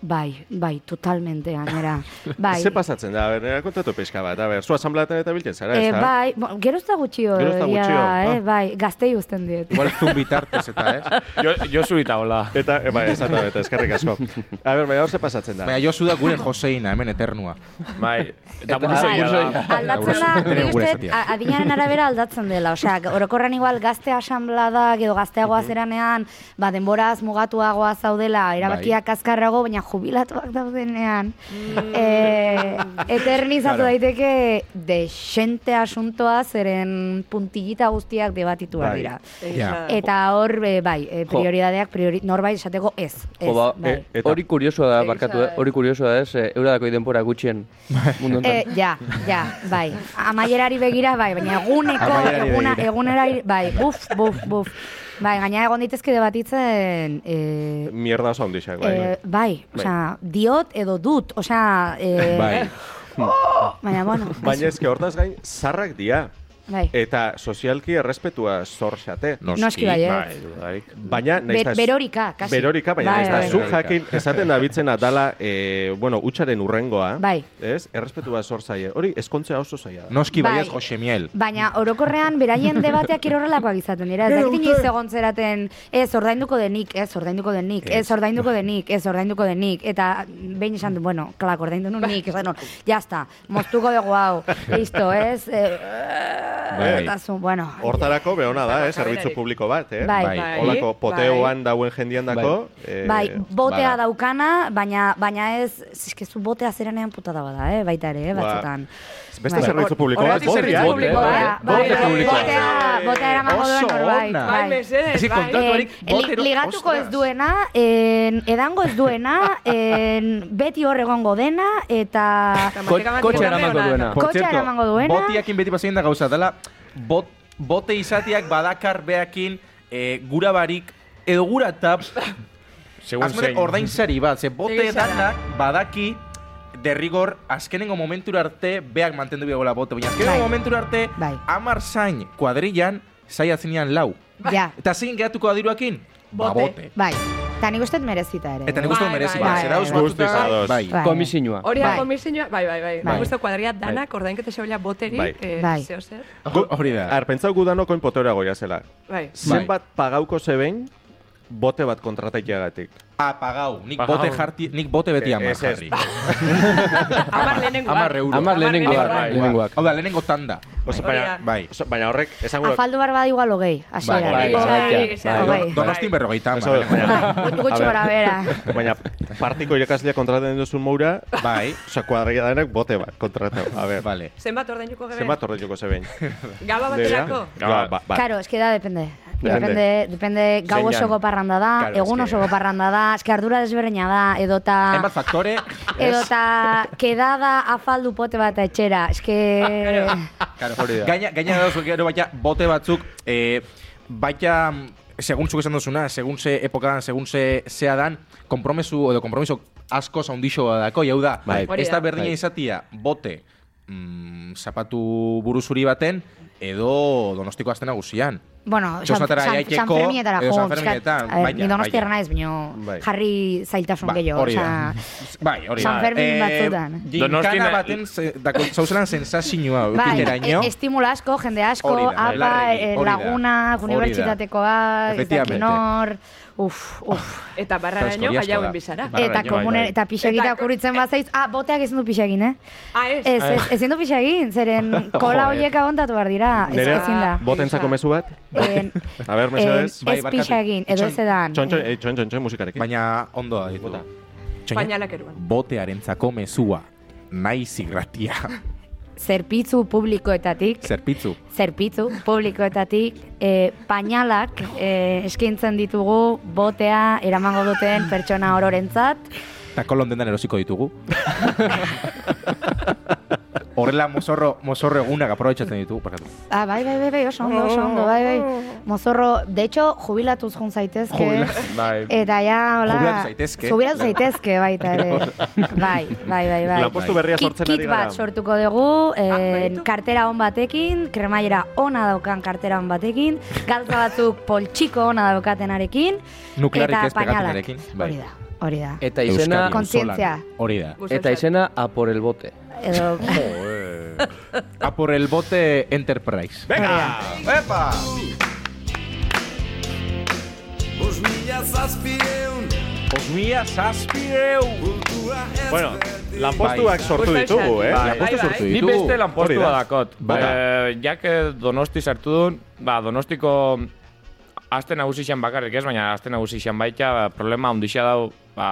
Speaker 5: bai, bai, totalmente,
Speaker 2: <laughs>
Speaker 5: gainera. Bai.
Speaker 1: Ze pasatzen da, a ber, nera kontatu pixka bat, a ber, zu asambladatan eta biltzen zara,
Speaker 5: Eh,
Speaker 1: ez da?
Speaker 5: bai, bo, gerozta gutxio,
Speaker 1: Gerozta
Speaker 5: egia
Speaker 1: gutxio,
Speaker 5: da, eh,
Speaker 1: ah.
Speaker 5: bai, gaztei uzten diet.
Speaker 2: Igual zun bitartez eta, eh?
Speaker 6: Jo, Josu eta hola.
Speaker 1: Eta, e, bai, exactamente, eskerrik asko. A ber, baina hor ze pasatzen da.
Speaker 2: Baina Josu da gure Joseina, hemen eternua.
Speaker 6: Bai, eta
Speaker 5: Bai,
Speaker 6: burzoia da.
Speaker 5: aldatzen da,
Speaker 2: Gure-
Speaker 5: nik
Speaker 2: gure
Speaker 5: uste, dut,
Speaker 2: zatia.
Speaker 5: a- adinaren arabera aldatzen dela, osea, orokorran igual gazte asanbladak edo gazteagoa zeranean, ba, denboraz mugatuagoa zaudela, erabakiak azkarrago, baina jubilatuak daudenean, eh, eternizatu daiteke desente asuntoa, zeren puntillita guztiak debatitu behar
Speaker 1: Bai.
Speaker 5: dira.
Speaker 2: Ja.
Speaker 5: Eta hor, eh, bai, eh, prioridadeak, priori, norbait esateko ez. ez
Speaker 3: Jo, ba,
Speaker 5: bai.
Speaker 1: e- Eta-
Speaker 3: Hori kuriosoa da,
Speaker 4: Egia
Speaker 3: barkatu,
Speaker 4: da,
Speaker 3: eh?
Speaker 4: eh.
Speaker 3: hori kuriosoa da, ez, eh, euradako denbora gutxien mundu
Speaker 5: Eh,
Speaker 3: honetan.
Speaker 5: ja, ja, bai. Amaierari begira, bai, baina eguneko,
Speaker 2: Amaierari
Speaker 5: eguna,
Speaker 2: begira.
Speaker 5: egunera, bai, buf, buf, buf. Bai, gaina egon daitezke debatitzen, eh,
Speaker 1: Mierda oso handixak, bai.
Speaker 5: eh, bai, osea, diot edo dut, osea, eh,
Speaker 2: Bai.
Speaker 5: baina, bueno,
Speaker 1: Baina eh, ezke hortaz gain, zarrak dira.
Speaker 5: bai.
Speaker 1: Eta sozialki errespetua zorxate.
Speaker 5: Noski bai, eh.
Speaker 6: Bai, dudarik.
Speaker 1: Baina, nahiz eta
Speaker 5: Be-
Speaker 1: ez-
Speaker 5: berorika, kasi.
Speaker 1: Berorika, baina
Speaker 5: Bai,
Speaker 1: nahiz eta
Speaker 5: bai.
Speaker 1: zu jakin, esaten dabitzena dala, eh, bueno, utxaren urrengoa.
Speaker 5: Bai.
Speaker 1: Ez? Errespetu bat zor zaie. Hori, ezkontzea oso zaila da.
Speaker 2: Noski bai ez
Speaker 5: Bai.
Speaker 2: Jose Miel.
Speaker 5: Baina orokorrean beraien debateak irorrelakoak izaten dira. Ez dakit inoiz egon zeraten, ez ordainduko denik, ez ordainduko denik, ez ordainduko denik, ez ordainduko denik. Eta behin esan du, bueno, klak ordaindu nun nik, esan hor, jazta, moztuko dugu hau, listo, ez? Eh,
Speaker 2: Bai.
Speaker 5: eta zu, bueno.
Speaker 1: Hortarako behona da, eh? Zerbitzu
Speaker 4: Kaberarik.
Speaker 1: publiko bat, eh?
Speaker 5: Bai.
Speaker 2: Bai.
Speaker 4: Bai.
Speaker 1: Olako poteoan dauen jendian dako. eh,
Speaker 5: Bai, botea
Speaker 2: bada.
Speaker 5: daukana, baina baina ez, eskezu botea zeranean putada bada, eh, baita ere, eh,
Speaker 1: Ba.
Speaker 5: batzutan.
Speaker 1: Beste
Speaker 5: Bai.
Speaker 1: zerbitzu publiko bat,
Speaker 4: Horregatik
Speaker 1: botea.
Speaker 4: zerbitzu publikoa
Speaker 3: Botea,
Speaker 4: da.
Speaker 5: Bai,
Speaker 4: Botea
Speaker 5: bai,
Speaker 4: publikoa.
Speaker 5: botea, botea eramango duen
Speaker 2: Oso
Speaker 5: norbait.
Speaker 2: ona.
Speaker 4: Bai,
Speaker 5: Bai.
Speaker 4: mesedez,
Speaker 2: Ezi,
Speaker 4: bai.
Speaker 2: kontatu- Kontratuarik
Speaker 5: Eh, li-
Speaker 2: botero-
Speaker 5: ligatuko ez
Speaker 2: Ostras.
Speaker 5: duena, en, edango
Speaker 2: <laughs>
Speaker 5: ez duena, en, beti hor egongo dena, eta
Speaker 4: Eta
Speaker 3: Ko-
Speaker 4: matematika-
Speaker 3: Kotxe
Speaker 4: matematika ona
Speaker 3: eramango
Speaker 4: da.
Speaker 3: duena.
Speaker 5: Kotxea
Speaker 2: Por
Speaker 5: eramango duena.
Speaker 2: Botiakin beti pasein da gauza, dela bot, bote izateak badakar beakin eh, gura barik, edo gura tap,
Speaker 6: Segun
Speaker 2: azmene
Speaker 6: zein.
Speaker 2: ordainsari bat, ze bote
Speaker 4: Egia da.
Speaker 2: dana badaki derrigor azkenengo momentura arte beak mantendu begola bote, baina
Speaker 5: Bai.
Speaker 2: azkenengo momentura arte
Speaker 5: Bai.
Speaker 2: amar zain kuadrillan zaiatzenean lau.
Speaker 5: ja,
Speaker 2: Eta zein gehatuko adiruakin? Ba,
Speaker 4: Bote.
Speaker 2: bote.
Speaker 5: bai. Eta nik uste dut merezita ere.
Speaker 2: Eta nik uste dut
Speaker 4: Bai,
Speaker 2: merezi
Speaker 4: bai,
Speaker 2: bat.
Speaker 5: bai.
Speaker 2: Zerauz
Speaker 5: Guztiz
Speaker 2: batuta-
Speaker 1: ados.
Speaker 2: Bai.
Speaker 5: Bai.
Speaker 3: Komisinua.
Speaker 4: Hori da
Speaker 5: Bai.
Speaker 4: komisioa, bai, bai, bai.
Speaker 5: Bai.
Speaker 4: Nik uste kuadria danak, ordainketa xabela boterik,
Speaker 1: Bai.
Speaker 4: eh,
Speaker 5: Bai.
Speaker 4: zeo zer.
Speaker 2: Hori da.
Speaker 1: Arpentzau gudanoko inpotora goia zela.
Speaker 2: <laughs>
Speaker 4: Bai.
Speaker 1: Zenbat pagauko zebein, bote bat kontrataiteagatik.
Speaker 2: Apagau. Nik
Speaker 6: Apagau.
Speaker 2: bote, jarti, nik bote beti
Speaker 1: Eh,
Speaker 2: amar
Speaker 1: ez, ez.
Speaker 2: jarri.
Speaker 4: Amar lehenengoak.
Speaker 2: Hamar euro.
Speaker 3: Hamar lehenengoak,
Speaker 4: Hamar
Speaker 3: bai.
Speaker 4: lehenengoak.
Speaker 3: Lehenengoak.
Speaker 2: Hau da, lehenengo Oh, tanda.
Speaker 1: Oso,
Speaker 4: Hori
Speaker 1: baina,
Speaker 4: da.
Speaker 2: Bai.
Speaker 1: oso, baina horrek, esango...
Speaker 5: Afaldu barba da igual hogei,
Speaker 2: Bai,
Speaker 5: hasiera.
Speaker 4: Bai,
Speaker 3: bai,
Speaker 4: bai,
Speaker 3: bai.
Speaker 4: bai.
Speaker 5: Bai.
Speaker 2: Donostin berrogeita
Speaker 1: Eso,
Speaker 2: hamar.
Speaker 1: baina-
Speaker 5: <laughs> Gutxi
Speaker 1: A
Speaker 5: gutxi
Speaker 1: ber.
Speaker 5: gora bera.
Speaker 1: Baina partiko irakaslea kontraten duzun moura,
Speaker 2: Bai.
Speaker 1: oso kuadrilla denak bote bat kontratau. A ber,
Speaker 2: Vale.
Speaker 4: Zenbat ordainuko gebe?
Speaker 1: zenbat ordetuko zebein.
Speaker 4: Gaba baterako?
Speaker 1: Ba, ba, ba.
Speaker 5: Claro, eske da, depende.
Speaker 1: Depende.
Speaker 5: Depende, depende gau
Speaker 1: Zeinan.
Speaker 5: osoko parranda da,
Speaker 2: Claro,
Speaker 5: egun
Speaker 2: eske-
Speaker 5: osoko parranda da, eske ardura desberdina da, edota...
Speaker 2: Hainbat faktore. <laughs>
Speaker 5: Edota, kedada afaldu pote bat etxera. Eske...
Speaker 2: Claro, gaina, gaina da gero baita bote batzuk, eh, baita, mm, segun zuk esan duzuna, segun ze epokadan, segun ze zea dan, kompromesu, edo kompromiso asko zaundixoa dako, jau da,
Speaker 1: Bai.
Speaker 4: Hori
Speaker 2: ez da
Speaker 4: da.
Speaker 2: berdina izatia, bote, mm, zapatu buruzuri baten, edo donostiko azten nagusian.
Speaker 5: Bueno, San,
Speaker 2: Txosnatara
Speaker 5: San,
Speaker 2: jaieko,
Speaker 5: San Ferminetara
Speaker 2: edo
Speaker 5: jo,
Speaker 2: San
Speaker 5: pixkat,
Speaker 2: Ferminetan,
Speaker 5: a ber,
Speaker 2: baina,
Speaker 5: ni donostiarra
Speaker 2: baina. Ba,
Speaker 5: naiz, baino
Speaker 1: Bai.
Speaker 5: jarri zailtasun gehiago.
Speaker 2: hori da.
Speaker 5: osea,
Speaker 2: <laughs> Bai, hori da.
Speaker 5: San Fermin
Speaker 2: Eh,
Speaker 5: batzutan.
Speaker 2: Ginkana
Speaker 6: Donostin-
Speaker 2: baten, ze- dako, zauzelan sensazioa,
Speaker 5: Bai,
Speaker 2: ukiteraino.
Speaker 5: e, estimula asko, jende asko,
Speaker 2: Hori da,
Speaker 5: apa,
Speaker 2: larregi,
Speaker 5: e,
Speaker 2: hori da,
Speaker 5: lagunak,
Speaker 2: hori da.
Speaker 5: unibertsitatekoa, ez
Speaker 2: Efectivamente.
Speaker 5: dakin hor, uf, uf.
Speaker 4: Eta barraraino
Speaker 2: Asko, asko
Speaker 4: gaiauen
Speaker 2: da.
Speaker 4: bizara.
Speaker 2: Bai.
Speaker 5: Eta
Speaker 2: Barraino,
Speaker 5: komunen,
Speaker 2: bai.
Speaker 5: eta pixegita
Speaker 4: Eta-
Speaker 5: okurritzen bazaiz, ah, boteak ezin du pixegin, eh?
Speaker 4: Ah, ez?
Speaker 5: Ez,
Speaker 2: Eh.
Speaker 5: ez, ezin du pixegin,
Speaker 2: <laughs>
Speaker 5: zeren kola horiek abontatu behar dira, ez
Speaker 1: Nerea,
Speaker 5: ezin da.
Speaker 1: Botentzako mezu bat?
Speaker 5: En,
Speaker 1: A ber, mesedez.
Speaker 5: en, ez
Speaker 2: Bai,
Speaker 5: pixa egin, edo ez edan.
Speaker 1: Txon, txon, eh, txon, txon, txon musikarekin.
Speaker 2: Baina ondo da
Speaker 1: Bai,
Speaker 2: ditu.
Speaker 4: Pañalak eruan.
Speaker 2: Botearentzako mezua. Naiz irratia.
Speaker 5: zerpitzu publikoetatik,
Speaker 2: Zerpitzu.
Speaker 5: zerpitzu publikoetatik, e, pañalak e, eskaintzen ditugu botea eramango duten pertsona ororentzat.
Speaker 2: Eta kolon dendan erosiko ditugu. Horrela mozorro, mozorro egunak aprobetsatzen ditugu. Parkatu.
Speaker 5: Ah, bai, bai, bai, bai, oso ondo, oso ondo, bai, bai. Mozorro, de hecho, jubilatuz jun zaitezke.
Speaker 2: Bai.
Speaker 5: Eta ja, hola...
Speaker 2: Jubilatu zaitezke.
Speaker 5: Jubilatu zaitezke,
Speaker 2: <laughs>
Speaker 5: baita ere. bai, bai, bai, bai.
Speaker 1: Lanpostu berria
Speaker 5: Kit,
Speaker 1: sortzen
Speaker 5: kit
Speaker 1: ari gara.
Speaker 5: bat sortuko dugu,
Speaker 6: Ah,
Speaker 5: eh,
Speaker 4: baditu?
Speaker 5: kartera on batekin, kremaiera ona daukan kartera on batekin, galtza
Speaker 6: <laughs>
Speaker 5: batzuk poltsiko ona daukatenarekin,
Speaker 2: Nuklearrik
Speaker 5: eta
Speaker 2: ez
Speaker 5: pañalak.
Speaker 2: pegatunarekin, bai.
Speaker 5: Hori da, hori da.
Speaker 3: Eta izena,
Speaker 2: Euskadi,
Speaker 5: Kontzientzia.
Speaker 2: auzolan. Hori da.
Speaker 3: eta izena a por el bote.
Speaker 5: Edo,
Speaker 6: <laughs>
Speaker 2: A por el bote Enterprise.
Speaker 7: Epa!
Speaker 1: Osmia zazpireu! Bueno, lanpostuak
Speaker 2: Bai.
Speaker 1: sortu ditugu, eh?
Speaker 2: Bai.
Speaker 1: Lanpostu
Speaker 2: sortu
Speaker 6: Ni
Speaker 2: ditu.
Speaker 6: beste
Speaker 1: Hori
Speaker 6: lanpostua
Speaker 1: da.
Speaker 6: dakot.
Speaker 2: Bai.
Speaker 6: Eh, jak eh, donosti sartu duen, ba, donostiko aste nagusixan bakarrik ez, baina aste nagusixan baita ba, problema ondixa dau, ba,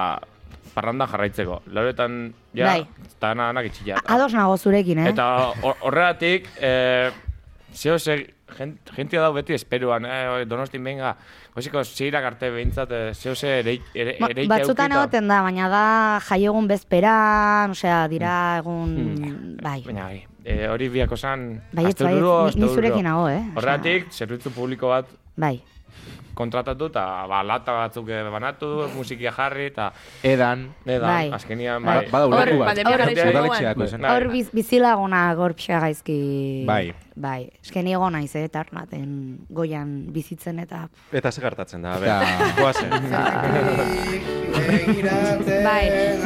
Speaker 6: parranda jarraitzeko. Lauretan, ja,
Speaker 5: Bai.
Speaker 6: eta nanak itxilla.
Speaker 5: ados nago zurekin, eh?
Speaker 6: Eta hor- horregatik, eh, zeo ze, gen- jentia dau beti esperuan, eh, donostin benga, goziko zeirak arte behintzat, eh, zeo ze ere, ere,
Speaker 5: Ba-
Speaker 6: ereitza
Speaker 5: batzutan
Speaker 6: eukita.
Speaker 5: egoten da, baina da jaiegun bezperan, osea, dira egun, bai.
Speaker 6: Hmm. Baina, bai, eh, hori biako zan,
Speaker 5: Baietz, baietz, ni- ni zurekin nago, eh?
Speaker 6: Horregatik, zerbitzu publiko bat
Speaker 5: Bai.
Speaker 6: kontratatu eta ba, lata batzuk eh, banatu, musikia jarri eta
Speaker 2: Edan.
Speaker 6: eda,
Speaker 5: Bai.
Speaker 6: azkenian
Speaker 2: Ba-
Speaker 6: bai.
Speaker 2: Badau
Speaker 4: Hor,
Speaker 2: leku bat.
Speaker 4: pandemia
Speaker 6: garaian
Speaker 2: Udaletxeako
Speaker 6: zegoen.
Speaker 2: zen.
Speaker 6: Bai.
Speaker 5: Hor biz, bizilaguna gorpxa gaizki.
Speaker 2: Bai.
Speaker 5: Bai. Eske ni ego naiz, eh, tarnaten goian bizitzen eta...
Speaker 1: Eta ze gertatzen da,
Speaker 2: Ja.
Speaker 1: bera. Goazen.
Speaker 5: Bai.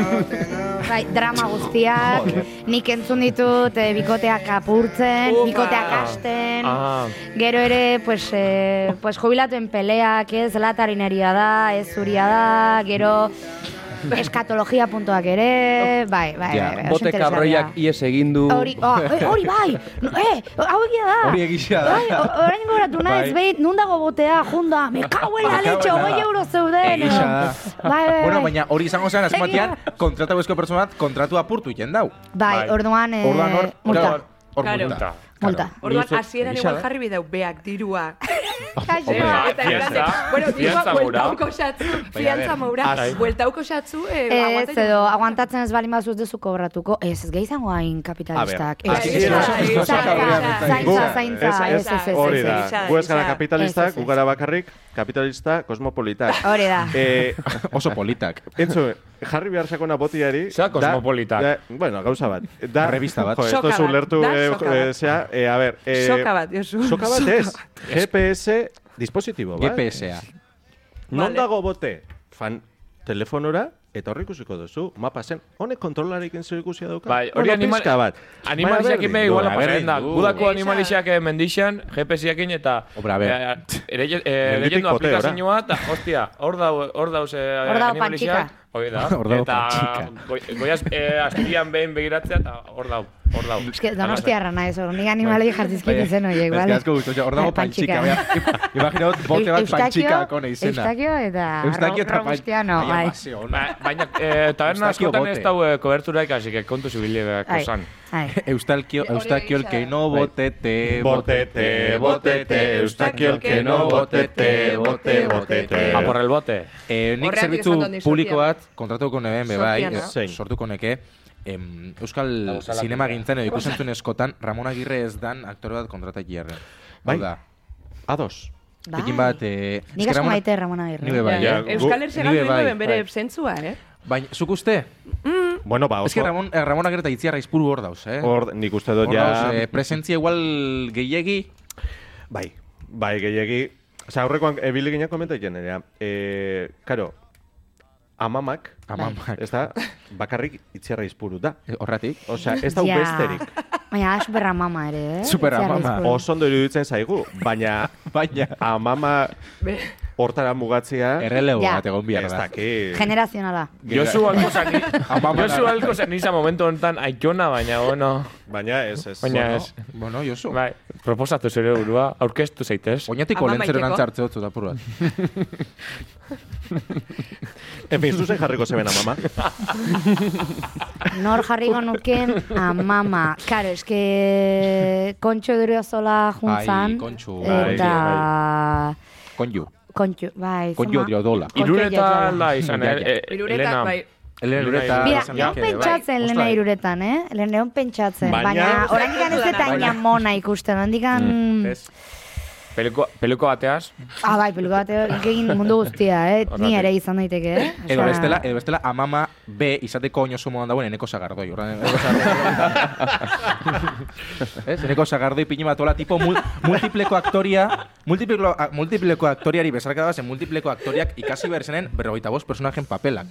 Speaker 5: bai, drama guztiak, nik entzun ditut eh, bikoteak apurtzen,
Speaker 6: Upa.
Speaker 5: bikoteak hasten...
Speaker 6: Ah,
Speaker 5: Gero ere, pues, eh, pues jubilatuen peleak, ez latarineria da, ez zuria da, gero eskatologia puntuak ere, bai, bai,
Speaker 2: Ja,
Speaker 5: bai, bai, oso
Speaker 3: Bote
Speaker 5: interesgarria.
Speaker 3: kabroiak ies egin du.
Speaker 5: Hori, oh, eh, hori bai, no, eh, hau egia da.
Speaker 2: Hori egia da.
Speaker 5: Bai, o- orain goratu naiz,
Speaker 2: Bai.
Speaker 5: behin, nun dago botea, junda,
Speaker 2: <laughs>
Speaker 5: me cago en la leche, hogei euro zeuden.
Speaker 2: Egia
Speaker 5: edo.
Speaker 2: da.
Speaker 5: Bai, bai, bai.
Speaker 2: Bueno, baina hori izango zen, azken
Speaker 5: Egia.
Speaker 2: batean, kontratu bezko pertsona bat, kontratu apurtu iten dau.
Speaker 5: Bai,
Speaker 6: Bai.
Speaker 5: orduan, eh,
Speaker 2: Orduan hor,
Speaker 5: multa.
Speaker 2: hor- hor
Speaker 4: Claro.
Speaker 2: multa.
Speaker 5: Multa.
Speaker 2: Claro.
Speaker 4: Orduan,
Speaker 2: Ni uste-
Speaker 4: hasieran
Speaker 2: egia
Speaker 4: igual
Speaker 2: da.
Speaker 4: jarri bideu beak dirua.
Speaker 5: Kaixo.
Speaker 6: Hombre,
Speaker 4: Dirua, eta
Speaker 6: fianza.
Speaker 4: errate, bueno, dirua
Speaker 6: Fianza moura.
Speaker 4: bueltauko xatzu,
Speaker 2: Baina, a ver,
Speaker 4: fiantza maura,
Speaker 2: hasi.
Speaker 4: bueltauko xatzu, eh,
Speaker 5: Ez,
Speaker 4: aguantatzen-
Speaker 5: edo, aguantatzen ez balin bazuz duzu kobratuko. Ez, ez gehi izango hain kapitalistak.
Speaker 1: A
Speaker 5: Ez,
Speaker 1: ber,
Speaker 5: ez,
Speaker 1: hasi-
Speaker 5: ez,
Speaker 1: hasi-
Speaker 5: zaintza,
Speaker 4: hasi-
Speaker 1: Gu-
Speaker 5: Zaintza, zaintza,
Speaker 1: ez-
Speaker 5: ez,
Speaker 1: ez-
Speaker 5: ez, ez,
Speaker 1: Hori
Speaker 5: ez,
Speaker 1: da.
Speaker 5: ez.
Speaker 4: ez,
Speaker 1: Gu ez gara
Speaker 4: ez,
Speaker 5: ez,
Speaker 1: kapitalistak,
Speaker 5: ez, ez.
Speaker 1: gu gara bakarrik, kapitalista kosmopolitak.
Speaker 5: Hori da.
Speaker 1: Eh,
Speaker 2: Oso politak.
Speaker 1: Entzun, jarri behar sakona botiari...
Speaker 6: Zea
Speaker 1: da-
Speaker 6: kosmopolitak.
Speaker 1: da- bueno, gauza bat. Da,
Speaker 2: Revista bat.
Speaker 1: Jo, esto
Speaker 4: Soka
Speaker 1: es
Speaker 4: bat,
Speaker 1: ulertu,
Speaker 4: da
Speaker 1: eh,
Speaker 4: soka
Speaker 1: eh,
Speaker 4: bat.
Speaker 1: zea, eh, a ver... Eh,
Speaker 4: Soka bat, Josu.
Speaker 1: Soka bat
Speaker 4: Soka
Speaker 1: ez, GPS dispositibo bat.
Speaker 2: GPSa.
Speaker 1: Non
Speaker 4: Vale.
Speaker 1: dago bote? Fan, telefonora, eta horrik ikusiko duzu, mapa zen, honek kontrolarekin zer ikusia dauka?
Speaker 6: Bai, hori
Speaker 1: Bueno,
Speaker 6: animal-
Speaker 1: pixka bat.
Speaker 6: Animaliak
Speaker 1: Baina
Speaker 6: ime
Speaker 1: berdin Uh.
Speaker 6: igual
Speaker 1: du,
Speaker 6: pasatzen da.
Speaker 2: berdin du.
Speaker 6: Gudako
Speaker 4: Egia.
Speaker 6: animaliak eh, mendixan, GPS-iakin eta...
Speaker 2: Obra, a ver.
Speaker 6: eh, ere, eh,
Speaker 1: Menditik
Speaker 6: lehendu
Speaker 1: pote, ora.
Speaker 6: aplikazioa eta, hostia, hor dau, hor dauz eh,
Speaker 5: Hor dau
Speaker 6: animaliak.
Speaker 5: pantxika.
Speaker 6: Hoi da.
Speaker 2: <laughs> Hor dau
Speaker 6: Eta
Speaker 2: pantxika.
Speaker 6: goi, goiaz eh, azpian behin begiratzea eta hor dau, hor dau.
Speaker 5: Ez que donostiarra naiz, hor, nik animalei jartzizkit izen horiek,
Speaker 2: Ez
Speaker 5: bale?
Speaker 2: que asko guztu, hor dago
Speaker 5: <laughs> Bai,
Speaker 2: pantxika. baina,
Speaker 5: <laughs>
Speaker 2: Imagina dut, bote bat
Speaker 5: Eustakio-
Speaker 2: pantxika kone izena.
Speaker 5: Eustakio eta
Speaker 2: Eustakio eta
Speaker 5: Robustiano, bai.
Speaker 6: Ba, Baina, eh, taberna
Speaker 2: Eustakio
Speaker 6: askotan
Speaker 2: bote.
Speaker 6: ez dau eh, kobertura ikasik, eh, kontu zibile behako
Speaker 5: Ai,
Speaker 6: zan.
Speaker 5: ai.
Speaker 2: Eustakio, Eustakio el que no botete,
Speaker 1: Bai. Botete, botete, Eustakio el que no botete, bote, botete.
Speaker 6: A por el bote.
Speaker 2: Eh, nik
Speaker 4: Horregatik
Speaker 2: zerbitzu
Speaker 4: esan dut ni
Speaker 2: publiko
Speaker 4: sortia.
Speaker 2: bat kontratuko neben, be bai,
Speaker 4: Sortia, no?
Speaker 2: eh,
Speaker 1: Zein?
Speaker 2: sortuko neke, em, Euskal Sinema gintzen edo ikusentzun eskotan, Ramon Agirre ez dan aktore bat kontratatik jarren.
Speaker 1: Bai.
Speaker 2: Hau da,
Speaker 1: Ados.
Speaker 5: Bai.
Speaker 2: ekin bat... Eh, eske
Speaker 5: Nik asko
Speaker 2: Ramon-
Speaker 5: maite Ramon
Speaker 2: Ni be
Speaker 5: Agirre.
Speaker 2: bai.
Speaker 4: Ja,
Speaker 1: gu-
Speaker 4: Eh, Euskal Herrian
Speaker 2: nire
Speaker 4: galdu
Speaker 2: bai,
Speaker 4: duen bere
Speaker 2: bai.
Speaker 4: zentzua, eh?
Speaker 2: Baina, Bai, zuk uste?
Speaker 1: Bueno, ba,
Speaker 2: Ez que
Speaker 1: oso,
Speaker 2: Ramon, eh, Ramon Agirre eta itziarra izpuru hor dauz, eh? Hor
Speaker 1: hor nik uste dut
Speaker 2: dauz,
Speaker 1: ja...
Speaker 2: eh, presentzia igual gehiegi,
Speaker 1: Bai, bai, gehiagi... Osa, aurrekoan, eh, ebili ginean komentatzen, ere. Eh, karo, amamak,
Speaker 2: amamak,
Speaker 1: ez da, bakarrik itziarra izpuru da.
Speaker 2: horratik.
Speaker 1: Osea, ez da
Speaker 5: Ja.
Speaker 1: besterik.
Speaker 5: Baina superamama ere, eh?
Speaker 2: Superamama.
Speaker 5: Itziar Lizpuru.
Speaker 1: Oso ondo iruditzen zaigu, baina
Speaker 2: Baina,
Speaker 1: amama
Speaker 4: Be-
Speaker 1: hortara mugatzea.
Speaker 2: Ah, Errelebo
Speaker 5: Ja.
Speaker 2: bat egon behar
Speaker 1: Ez
Speaker 2: da.
Speaker 1: dakit.
Speaker 5: Generazionala.
Speaker 6: Josu alkozan,
Speaker 2: <laughs> Amamara.
Speaker 6: Josu alkozan izan momentu honetan aitona, baina, bueno,
Speaker 1: Baina ez, ez.
Speaker 6: baina ez.
Speaker 2: Bueno, Josu.
Speaker 6: Bai, proposatu zure burua, aurkeztu zaitez.
Speaker 2: Oñatiko
Speaker 4: Ama
Speaker 2: lentzero
Speaker 4: maiteko.
Speaker 2: nantzartze dut apur bat.
Speaker 1: En fin, zuzen jarriko zebena, mama.
Speaker 5: Nor jarriko nuken amama. Karo, eske kontxo eduriozola juntzan.
Speaker 2: Ai, Kontxu, bai,
Speaker 5: Eta...
Speaker 2: Konju.
Speaker 5: Kontxu, bai.
Speaker 2: Kontxu
Speaker 5: zama-
Speaker 2: Odriozola.
Speaker 5: Kontxu
Speaker 6: Irureta
Speaker 5: Odriozola.
Speaker 6: da izan,
Speaker 2: Ja,
Speaker 6: eh,
Speaker 2: ja.
Speaker 6: eh,
Speaker 4: Iruretak,
Speaker 6: Elena.
Speaker 4: bai.
Speaker 2: Ele lureta.
Speaker 5: Bira,
Speaker 2: esan bai.
Speaker 5: egon
Speaker 2: dake,
Speaker 5: pentsatzen lehena
Speaker 6: Ostras.
Speaker 5: bai, iruretan, eh? Lehen egon pentsatzen.
Speaker 1: Baina-
Speaker 5: Baina, orain dikan ez eta inamona ikusten, orain dikan...
Speaker 2: Mm.
Speaker 6: Peluko, peluko bateaz,
Speaker 5: Ah, bai, peluka bat egin mundu guztia, eh? Ni
Speaker 6: Horregatik.
Speaker 5: ere izan daiteke, eh? Osea,
Speaker 2: Edo bestela, edo bestela amama B izateko oino sumoan dagoen eneko sagardoi. Horren, eneko
Speaker 5: <laughs>
Speaker 2: sagardoi. Ez, eneko sagardoi pini bat hola, tipo mul, multipleko aktoria, multipleko, a, multipleko aktoriari bezarka da, zen multipleko aktoriak ikasi behar zenen berrogeita bost personajen papelak.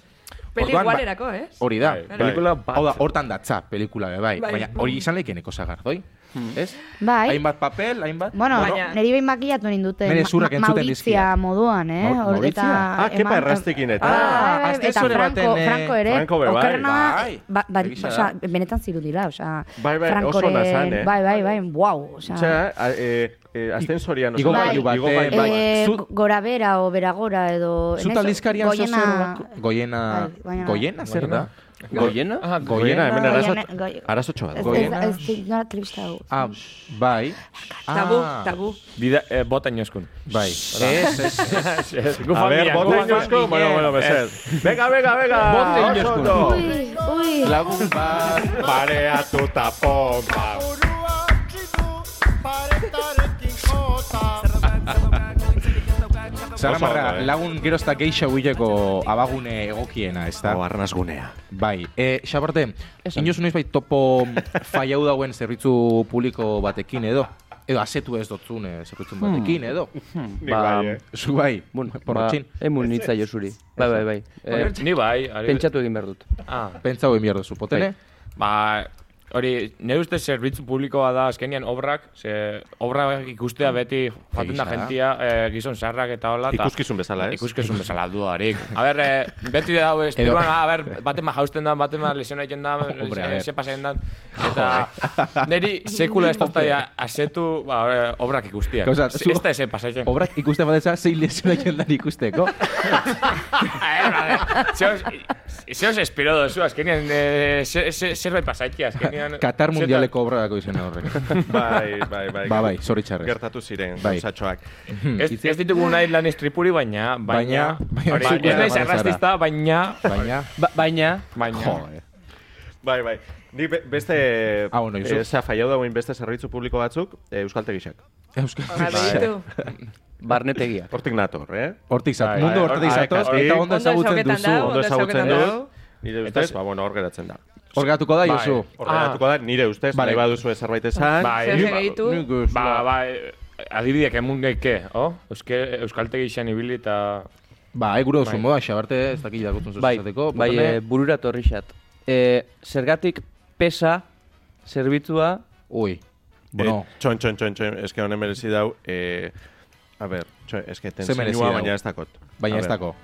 Speaker 4: Peli
Speaker 2: Orduan, ba-
Speaker 4: igualerako, ez?
Speaker 2: Hori da.
Speaker 6: Bai, pelikula bat.
Speaker 2: Hau da, hortan datza, pelikula, be, bai.
Speaker 4: Bai.
Speaker 2: Baina hori izan leike eneko sagardoi.
Speaker 6: Hmm.
Speaker 2: Ez?
Speaker 5: Bai.
Speaker 2: Hainbat papel, hainbat...
Speaker 5: Bueno,
Speaker 4: Baina-
Speaker 5: neri behin makillatu ninduten.
Speaker 2: Bere zurrak
Speaker 5: Ma- ma-
Speaker 2: entzuten
Speaker 5: Maurizia
Speaker 2: dizkiat.
Speaker 5: moduan, eh?
Speaker 2: Mau-
Speaker 5: Hor-
Speaker 2: Maurizia?
Speaker 5: eta
Speaker 1: Ah, kepa
Speaker 5: eman-
Speaker 1: errastekin
Speaker 5: Ah,
Speaker 1: eta.
Speaker 2: Ah,
Speaker 5: bai, bai,
Speaker 2: azte
Speaker 5: eta
Speaker 2: zure
Speaker 5: Franco,
Speaker 2: baten, eh,
Speaker 5: Franco ere.
Speaker 1: Franco be bai.
Speaker 5: Okerrena,
Speaker 2: Bai.
Speaker 5: ba, ba,
Speaker 2: Egia
Speaker 5: osea,
Speaker 2: da.
Speaker 5: benetan zirudila, osea.
Speaker 1: Bai, bai, oso
Speaker 5: Francoren-
Speaker 1: ona zan, eh?
Speaker 5: Bai, bai, bai, wow, osea.
Speaker 1: Txea, a- eh, eh, ascensorian.
Speaker 2: Igo
Speaker 1: oso-
Speaker 5: gailu
Speaker 2: baten,
Speaker 1: gailu bat.
Speaker 2: bai.
Speaker 5: Eh,
Speaker 2: Zu-
Speaker 5: gora bera o bera gora edo... en
Speaker 2: Zuta
Speaker 5: eso,
Speaker 2: aldizkarian
Speaker 5: goiena-
Speaker 2: zozer... Goiena...
Speaker 5: Bai, baina-
Speaker 2: Goiena zer da?
Speaker 3: Goiena?
Speaker 6: Ah,
Speaker 1: Goiena, hemen
Speaker 5: Goiena-
Speaker 1: arazo-
Speaker 5: Goiena-
Speaker 1: arazotxo bat.
Speaker 5: Ez-
Speaker 1: Goiena.
Speaker 2: Goiena.
Speaker 5: Ez, ez, nola tribista hau.
Speaker 2: Ah, bai.
Speaker 4: Tabu,
Speaker 2: Ah, <laughs>
Speaker 4: tabu.
Speaker 6: dida, eh, bota inozkun.
Speaker 2: Bai.
Speaker 1: Eh?
Speaker 2: Ez, ez,
Speaker 6: Gu
Speaker 1: A ver,
Speaker 6: familia, gu
Speaker 1: bota
Speaker 6: familia.
Speaker 1: inozko, bueno,
Speaker 2: Eh,
Speaker 1: bueno, mesedez. Venga, venga, venga.
Speaker 2: Bota
Speaker 1: oso
Speaker 2: inoskun.
Speaker 1: ondo.
Speaker 5: Ui, ui.
Speaker 2: Lagun bat.
Speaker 1: Pareatuta pompa.
Speaker 2: Zaramarra,
Speaker 1: ondo, eh?
Speaker 2: lagun gerozta geixa huileko abagune egokiena, ez da?
Speaker 1: Oarnaz gunea.
Speaker 2: Bai. E, xabarte, inozu noiz bai
Speaker 1: <laughs>
Speaker 2: topo faiau dauen zerbitzu publiko batekin edo? Edo asetu ez dotzun eh,
Speaker 1: Hmm.
Speaker 2: zerbitzun batekin edo?
Speaker 1: Nik
Speaker 3: Ba,
Speaker 1: bai, eh.
Speaker 2: Zu bai,
Speaker 3: Bueno,
Speaker 2: porrotxin.
Speaker 3: Ba, emun nitza Josuri. Bai, bai, bai. Eh,
Speaker 6: Ni bai, ari-
Speaker 3: pentsatu egin behar dut.
Speaker 6: Ah,
Speaker 2: Pentsa hoen behar duzu,
Speaker 1: Bai.
Speaker 2: potene?
Speaker 6: Ba, hori, nire uste zerbitzu publikoa da, azkenian obrak, ze obrak ikustea beti jaten
Speaker 2: Egia
Speaker 6: da
Speaker 2: da.
Speaker 6: jentia, eh, gizon sarrak eta hola. ta-
Speaker 1: Ikuskizun bezala, ez?
Speaker 6: Ikuskizun bezala duarik. A ber, eh, beti da, hau,
Speaker 2: Edo-
Speaker 6: estiruan, a ber, baten ma jausten da, baten ma lesionaiten da,
Speaker 2: Hombre, a
Speaker 6: eh,
Speaker 2: ber.
Speaker 6: ze pasen da, eta niri sekula ez doztaia asetu, ba, eh, obrak ikustia.
Speaker 2: Gauza, zu-
Speaker 6: Ez da eze pasatzen.
Speaker 2: Obrak ikusten badetza, zein
Speaker 1: <laughs>
Speaker 2: lesioa jendan ikusteko.
Speaker 6: Zeos espero dozu, azkenian, eh, ze- ze- zerbait pasaitia, azkenian.
Speaker 2: Katar
Speaker 6: Zeta-
Speaker 2: mundialeko obrako izena horrek.
Speaker 1: Bai, <laughs> bai, bai.
Speaker 2: Ba, bai, zoritxarrez.
Speaker 1: Gertatu ziren,
Speaker 2: Bai.
Speaker 1: gauzatxoak.
Speaker 6: Ez, ez ditugu nahi lan estripuri, baina... Mm. Baina...
Speaker 2: Baina-
Speaker 6: hori,
Speaker 2: baina-
Speaker 6: ez naiz
Speaker 2: baina-
Speaker 6: arrastista, baina...
Speaker 2: Baina,
Speaker 3: Ba, baina,
Speaker 6: Baina...
Speaker 1: Bai, bai. Ni be- beste...
Speaker 2: Ah, bueno, Josu.
Speaker 1: eh, Osea, faiau dagoen beste zerbitzu publiko batzuk, eh, Euskaltegisak.
Speaker 2: euskal.
Speaker 4: Ba, begitu.
Speaker 3: barnetegia.
Speaker 1: Hortik nator, eh?
Speaker 2: Hortik zat,
Speaker 6: Bai,
Speaker 2: mundu
Speaker 6: bai,
Speaker 2: hortik
Speaker 1: bai,
Speaker 2: zatoz, eta
Speaker 1: bai, bai.
Speaker 2: ondo
Speaker 4: Ondo
Speaker 2: ezagutzen
Speaker 4: ezagutzen
Speaker 2: duzu.
Speaker 4: dau.
Speaker 1: Ondo ezagutzen
Speaker 4: ezagutzen
Speaker 1: dut. Nire ustez, ba, bueno, hor geratzen da.
Speaker 2: Hor geratuko da,
Speaker 6: Bai.
Speaker 2: Josu.
Speaker 1: Hor geratuko da, nire ustez,
Speaker 2: Vale.
Speaker 1: nahi baduzu zerbait esan.
Speaker 6: Bai.
Speaker 4: Ah, Zer
Speaker 6: Ni-
Speaker 4: segitu.
Speaker 6: Ba, ba, eh, adibideak emun geike, oh? Euske, Euskaltegi izan ibili eta...
Speaker 2: Ba, eguro duzu
Speaker 6: Bai.
Speaker 2: moda, xabarte, ez dakit jakutzen zuzu
Speaker 3: Bai,
Speaker 2: esateko.
Speaker 3: bai,
Speaker 2: Potone?
Speaker 3: e, burura torri xat. E, zergatik pesa, zerbitzua,
Speaker 2: Ui. Bueno,
Speaker 1: Eh, txon, txon, txon, txon, eske honen merezi dau, eh, a ber, txon, eske ten
Speaker 2: Ze merezi
Speaker 1: zinua,
Speaker 2: dau?
Speaker 1: baina ez dakot.
Speaker 2: baina
Speaker 1: A
Speaker 2: ez
Speaker 1: ber,
Speaker 2: dako.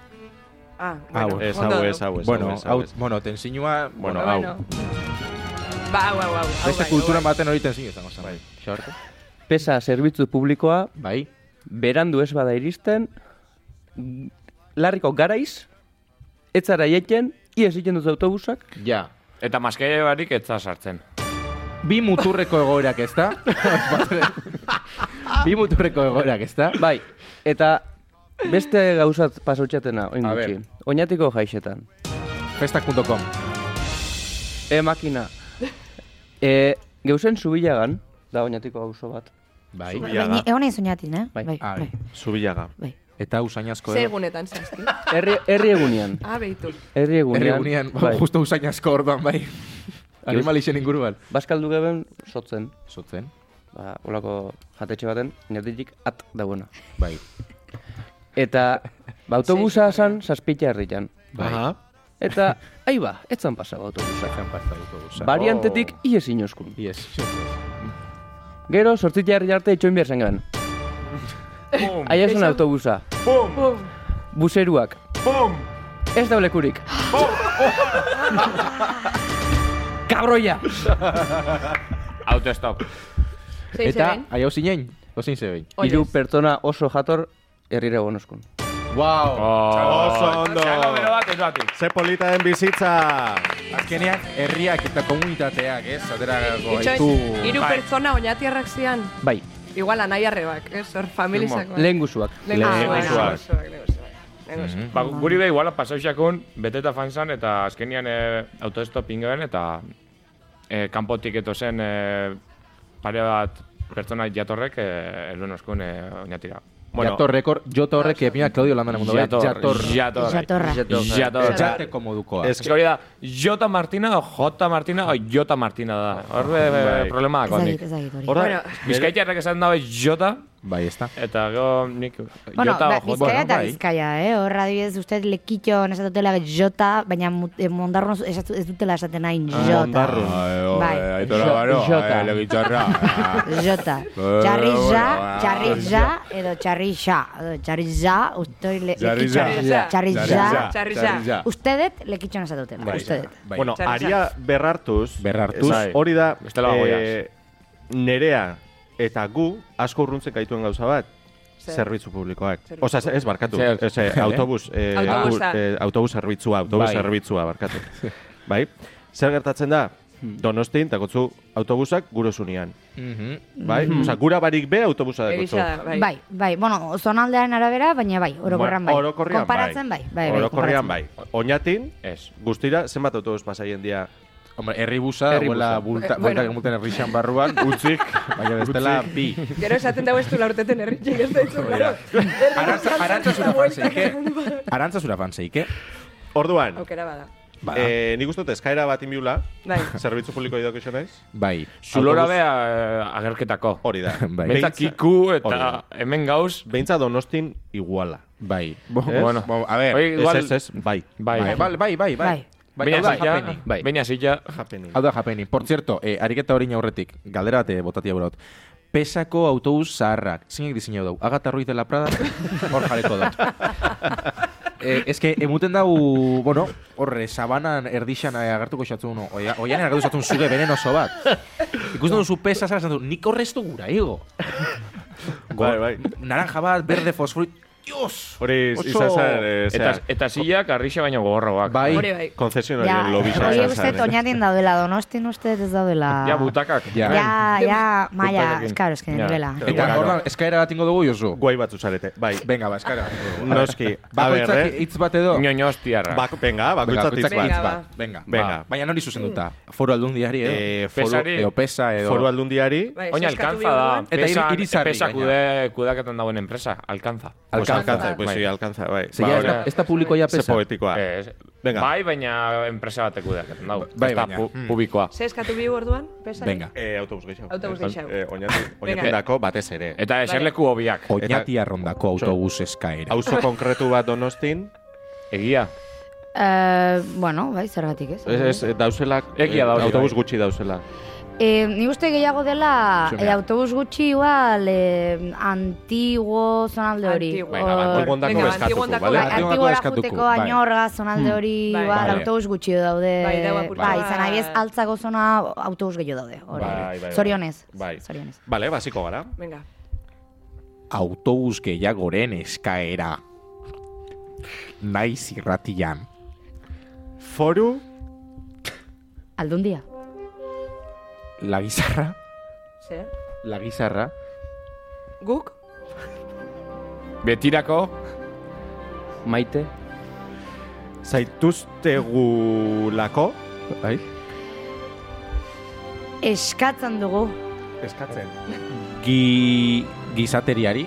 Speaker 4: Ah,
Speaker 2: Ah,
Speaker 4: bueno.
Speaker 2: bueno.
Speaker 1: Ez,
Speaker 4: ondo
Speaker 1: hau,
Speaker 4: du.
Speaker 1: ez, hau, ez,
Speaker 2: Bueno,
Speaker 1: hau, ez,
Speaker 2: hau,
Speaker 1: ez.
Speaker 2: bueno, tensinua,
Speaker 1: Bueno,
Speaker 4: Ba,
Speaker 1: hau.
Speaker 4: bueno. Ba, hau, hau, hau, hau.
Speaker 2: beste
Speaker 4: bai,
Speaker 2: kultura
Speaker 4: hau, bai.
Speaker 2: baten hori tensinu izango zen. Bai. Xabarte?
Speaker 3: pesa zerbitzu publikoa,
Speaker 2: Bai.
Speaker 3: berandu ez bada iristen, g- larriko garaiz, etzara jeten, ies egiten dut autobusak,
Speaker 2: Ja.
Speaker 6: Eta maskeia barik ez da sartzen.
Speaker 2: Bi muturreko egoerak ez da? Bi muturreko egoerak ez da? Ba,
Speaker 3: bai, eta beste gauzat pasautxatena, oin
Speaker 2: A
Speaker 3: gutxi.
Speaker 2: ber.
Speaker 3: Oñatiko jaixetan.
Speaker 2: Festak.com.
Speaker 3: E, makina. E, geuzen zubilagan, da oinatiko auzo bat.
Speaker 2: Bai.
Speaker 1: Zubiaga.
Speaker 5: Baina, egon ez oinatin, eh?
Speaker 3: Bai.
Speaker 5: Bai,
Speaker 2: Ah,
Speaker 5: bai,
Speaker 1: Zubilaga.
Speaker 5: bai.
Speaker 2: Eta usainazko
Speaker 4: Zer
Speaker 2: edo.
Speaker 4: egunetan zehazki.
Speaker 3: Herri, herri egunean.
Speaker 4: Ah, begitu.
Speaker 3: Herri Bai. egunean.
Speaker 2: Erreunian, ba, justo usainazko orduan, bai. Animalixen inguruan.
Speaker 3: Baskaldu geben, sotzen.
Speaker 2: Sotzen.
Speaker 3: Ba, olako jatetxe baten, oinatik at dagoena.
Speaker 2: Bai.
Speaker 3: Eta, ba, autobusa zan, saspitza herritan.
Speaker 2: Bai.
Speaker 3: Eta, ahi ba, etzan pasa autobusa.
Speaker 2: Zan pasta autobusa.
Speaker 3: Variantetik ies inoskun.
Speaker 2: Yes.
Speaker 3: Gero, sortzitza herri arte itxoin behar zengan.
Speaker 6: Bum!
Speaker 3: Aia zen autobusa.
Speaker 4: Bum.
Speaker 3: Buseruak.
Speaker 7: Bum!
Speaker 3: Ez daulekurik. Kabroia!
Speaker 6: Autostop.
Speaker 4: Zein
Speaker 2: Eta,
Speaker 4: zein?
Speaker 2: aia hausin zein? Hausin zein.
Speaker 4: Oinez.
Speaker 3: Hiru pertsona oso jator herrira bonoskun.
Speaker 2: Wow.
Speaker 1: Oso
Speaker 2: Oh,
Speaker 1: ondo.
Speaker 6: Txalo bero bat, ez batik.
Speaker 1: Ze polita den bizitza.
Speaker 2: Azkenean, herriak eta komunitateak, ez? Atera
Speaker 4: Itxoin,
Speaker 2: gaitu.
Speaker 4: hiru
Speaker 6: Bai.
Speaker 4: pertsona oinatiarrak zian,
Speaker 3: Bai,
Speaker 4: igual anai arrebak, ez, hor familizako. eh.
Speaker 3: lehen guzuak.
Speaker 4: Ah,
Speaker 6: Lehengusuak.
Speaker 4: Lehengusuak.
Speaker 6: Ba, gu- guri be iguala pasauxakun, beteta fanzan, eta azkenian e, autostop ingoen, eta e, kanpotik eto zen e, pare bat pertsona jatorrek e, eluen oskun e, oinatira.
Speaker 2: Jator rekor, joto horrek epina Claudio Landana mundu. Jator.
Speaker 6: jator,
Speaker 2: Jator.
Speaker 6: jator,
Speaker 5: Jatorra.
Speaker 6: jator.
Speaker 2: Jateko modukoa.
Speaker 1: Ez
Speaker 6: Ez que hori da, Jota Martina, o Jota Martina, o Jota Martina da. Horre
Speaker 1: Bai.
Speaker 6: problema da
Speaker 5: Ezagik,
Speaker 6: kondik.
Speaker 5: ezagik hori.
Speaker 1: Horra,
Speaker 4: Bueno.
Speaker 6: Bizkaitarrak esan dabe Jota,
Speaker 2: Bai, ez da.
Speaker 6: eta gero nik
Speaker 5: Bueno,
Speaker 6: Jota
Speaker 5: ba,
Speaker 6: o Jota.
Speaker 5: bizkaia eta
Speaker 2: bai.
Speaker 5: bizkaia, eh? Horra adibidez, uste lekition ez dutela jota, baina mut- eh, mondarron esatu- ez dutela esaten hain
Speaker 1: Ah,
Speaker 5: jota. Bai.
Speaker 2: Eh,
Speaker 3: Jo- Jota.
Speaker 5: Jota. Txarri ja, txarri ja, edo txarri ja. Edo txarri ja, ustoi le,
Speaker 9: Jarri ja.
Speaker 5: lekitxon- Txarri ja.
Speaker 4: Txarri
Speaker 9: Jarri ja.
Speaker 5: Ustedet lekitxon esatutela,
Speaker 1: Bai.
Speaker 5: ustedet.
Speaker 2: Bai.
Speaker 1: Bueno,
Speaker 4: Txarri
Speaker 1: aria berrartuz.
Speaker 2: Berrartuz.
Speaker 1: ez, Hori da,
Speaker 6: Bestela
Speaker 1: eh, nerea eta gu asko urruntzen gaituen gauza bat.
Speaker 4: Zer?
Speaker 1: Zerbitzu publikoak.
Speaker 4: Zerbitzu
Speaker 1: Osa, ez barkatu.
Speaker 2: Zer?
Speaker 1: Ez, eh, autobus, eh,
Speaker 4: Autobusa.
Speaker 1: autobus, eh, autobus zerbitzua, autobus
Speaker 2: Bai.
Speaker 1: zerbitzua, barkatu. bai? Zer gertatzen da? Donostin, takotzu autobusak gurosunean.
Speaker 2: Mhm.
Speaker 1: Bai? Osa, gura barik be autobusa dakotzu.
Speaker 4: Egisa da, bai.
Speaker 5: Bai, bai, bueno, zonaldearen arabera, baina bai, orokorran bai.
Speaker 1: Ba- orokorrean
Speaker 5: Konparatzen bai. bai, bai
Speaker 1: Orokorrean
Speaker 5: konparatzen.
Speaker 1: bai. Oñatin,
Speaker 6: Ez.
Speaker 1: guztira, zenbat autobus pasaien dia?
Speaker 2: Hombre, herri busa,
Speaker 3: Herri
Speaker 2: dagoela
Speaker 3: busa.
Speaker 2: bulta,
Speaker 4: Eh,
Speaker 2: bulta
Speaker 4: bueno.
Speaker 2: multan herrixan barruan, utzik, baina bestela bi.
Speaker 4: Gero esaten dago ez du laurteten erritxik ez da itzu, claro.
Speaker 2: Arantza- Arantzazura fanzeike. Arantzazura fanzeike.
Speaker 1: Orduan,
Speaker 4: Aukera bada.
Speaker 2: Ba.
Speaker 1: eh, nik uste dut eskaera bat inbiula,
Speaker 4: Bai.
Speaker 1: zerbitzu publiko idok iso naiz?
Speaker 2: Bai.
Speaker 6: Zulora
Speaker 2: Autobus-
Speaker 6: bea eh, agerketako.
Speaker 1: Hori <laughs> da.
Speaker 2: Bai.
Speaker 6: Benta
Speaker 1: Beintza-
Speaker 6: kiku
Speaker 1: Hori
Speaker 6: eta
Speaker 1: da.
Speaker 6: hemen gauz.
Speaker 1: Beintza donostin iguala.
Speaker 2: Bai.
Speaker 1: Ez?
Speaker 6: Bueno,
Speaker 9: Bo, a ver,
Speaker 6: Oye, igual,
Speaker 1: Ez, ez, ez, bai.
Speaker 6: Bai,
Speaker 2: Bai, bai, bai, bai.
Speaker 5: Bai.
Speaker 2: Bai,
Speaker 6: Baina
Speaker 2: hau da
Speaker 6: zila,
Speaker 2: happening.
Speaker 3: Bai.
Speaker 6: baina zila,
Speaker 1: Happening.
Speaker 2: Hau da happening. Por cierto, eh, ariketa hori aurretik, galdera bat eh, botatia burot. Pesako autobus zaharrak, zinek dizinio dau. Agata Ruiz de la
Speaker 6: <laughs>
Speaker 2: Prada, hor jareko dut. eh, ez que, emuten dau, bueno, horre, sabanan erdixan eh, agertuko xatzun, oian agertu xatzun zuge benen oso bat. Ikusten duzu pesa zara, esan du, nik horreztu gura, igo.
Speaker 1: Bai, bai.
Speaker 2: Naranja bat, berde, fosforit, dios!
Speaker 1: Hori
Speaker 2: Oso-
Speaker 1: izan zen, eh,
Speaker 6: eta,
Speaker 1: zera,
Speaker 6: eta zilak arrixe baino gogorroak.
Speaker 2: Bai,
Speaker 4: Hori bai.
Speaker 5: Ja,
Speaker 1: konzesionarien lobi
Speaker 5: hori
Speaker 1: izan
Speaker 5: uste
Speaker 1: zen.
Speaker 5: toñatin daudela, donostin uste ez daudela.
Speaker 6: Ja, butakak.
Speaker 2: Ja.
Speaker 5: Ja, ja, maia,
Speaker 6: Konpainekin.
Speaker 5: eskaro, esken
Speaker 6: Ja.
Speaker 5: direla.
Speaker 2: Eta
Speaker 1: Claro.
Speaker 2: ordan eskaera bat ingo dugu, Josu.
Speaker 1: Guai batzu zarete, bai.
Speaker 2: Venga, ba, eskaera. bat ingo dugu.
Speaker 1: Noski, a ber,
Speaker 2: Bakoitzak
Speaker 1: eh?
Speaker 2: hitz bat edo.
Speaker 6: Ñoño hostiarra.
Speaker 1: Bak, venga, bakoitzat hitz
Speaker 4: bakoitzak
Speaker 1: bat.
Speaker 4: hitz bat.
Speaker 2: Venga,
Speaker 1: Venga. Mm.
Speaker 2: ba. Baina nori zuzenduta? Foru aldundiari edo?
Speaker 1: Eh, foru-
Speaker 6: Pesari,
Speaker 2: edo pesa edo...
Speaker 1: Foru aldundiari,
Speaker 4: Bai,
Speaker 6: oin
Speaker 4: eskatu
Speaker 6: alkanza da.
Speaker 4: diguan.
Speaker 2: Eta
Speaker 6: Pesa,
Speaker 2: hiri- hiri sarri,
Speaker 6: pesa
Speaker 2: gaina.
Speaker 6: kude, kudeaketan dagoen enpresa, alkanza.
Speaker 1: pues
Speaker 2: Alcanza.
Speaker 1: alcanza, pues
Speaker 6: Bai.
Speaker 1: sí, alcanza, bai.
Speaker 2: Ze ja,
Speaker 1: Ba,
Speaker 2: ez da-
Speaker 1: hori-
Speaker 2: ez da publikoa ja
Speaker 1: Ze
Speaker 2: pesa.
Speaker 1: poetikoa.
Speaker 6: Ez,
Speaker 1: Ba. Venga. hmm.
Speaker 6: Bai, baina enpresa batek kudeaketan dago.
Speaker 2: Bai,
Speaker 6: Eta
Speaker 2: baina,
Speaker 6: pu-
Speaker 2: mm.
Speaker 6: publikoa.
Speaker 4: Ze eskatu bigu orduan? Pesa?
Speaker 2: Venga.
Speaker 1: Eh, autobus gehiago.
Speaker 4: Autobus gehiago.
Speaker 1: Eh, oñati-
Speaker 4: Venga.
Speaker 1: oñatindako batez ere.
Speaker 6: Eta eserleku hobiak.
Speaker 2: Oñatia rondako autobus eskaera.
Speaker 1: Auzo konkretu bat donostin,
Speaker 6: Egia.
Speaker 5: Eh, bueno, bai, zergatik ez.
Speaker 1: ez, ez, dauzelak,
Speaker 6: Egia da hori,
Speaker 1: Eh, autobus
Speaker 6: bai.
Speaker 1: gutxi dauzela.
Speaker 5: Eh, ni uste gehiago dela
Speaker 2: Zure.
Speaker 5: eh, autobus gutxi igual eh, antiguo zonalde hori. Eh,
Speaker 4: Antiguo.
Speaker 6: Venga, ba,
Speaker 5: Hor-
Speaker 1: Antiguondako
Speaker 4: Venga,
Speaker 1: eskatuko,
Speaker 4: antiguondako
Speaker 1: bale?
Speaker 5: Bai,
Speaker 4: bai.
Speaker 2: Antiguoko
Speaker 5: antiguora
Speaker 2: eskatuko,
Speaker 5: juteko
Speaker 2: bai.
Speaker 5: añorga zonalde hori
Speaker 4: Bai.
Speaker 5: igual
Speaker 2: Vale.
Speaker 5: autobus gutxi daude.
Speaker 4: Bai, dago apurtu
Speaker 5: Bai,
Speaker 4: bat.
Speaker 5: izan adibidez, altzako zona autobus gehiago daude. Hori.
Speaker 1: Bai, bai, bai.
Speaker 5: Zorionez.
Speaker 1: Bai.
Speaker 5: Zorionez.
Speaker 1: Bale, basiko gara.
Speaker 4: Venga.
Speaker 2: Autobus gehiagoren eskaera. Naiz irratian.
Speaker 1: Foru,
Speaker 5: Aldundia.
Speaker 2: Lagizarra.
Speaker 4: Ze?
Speaker 2: Lagizarra.
Speaker 4: Guk?
Speaker 6: Betirako,
Speaker 3: Maite,
Speaker 1: zaituztegulako,
Speaker 2: Bai.
Speaker 5: Eskatzen dugu.
Speaker 1: eskatzen.
Speaker 2: Gi... Gizateriari.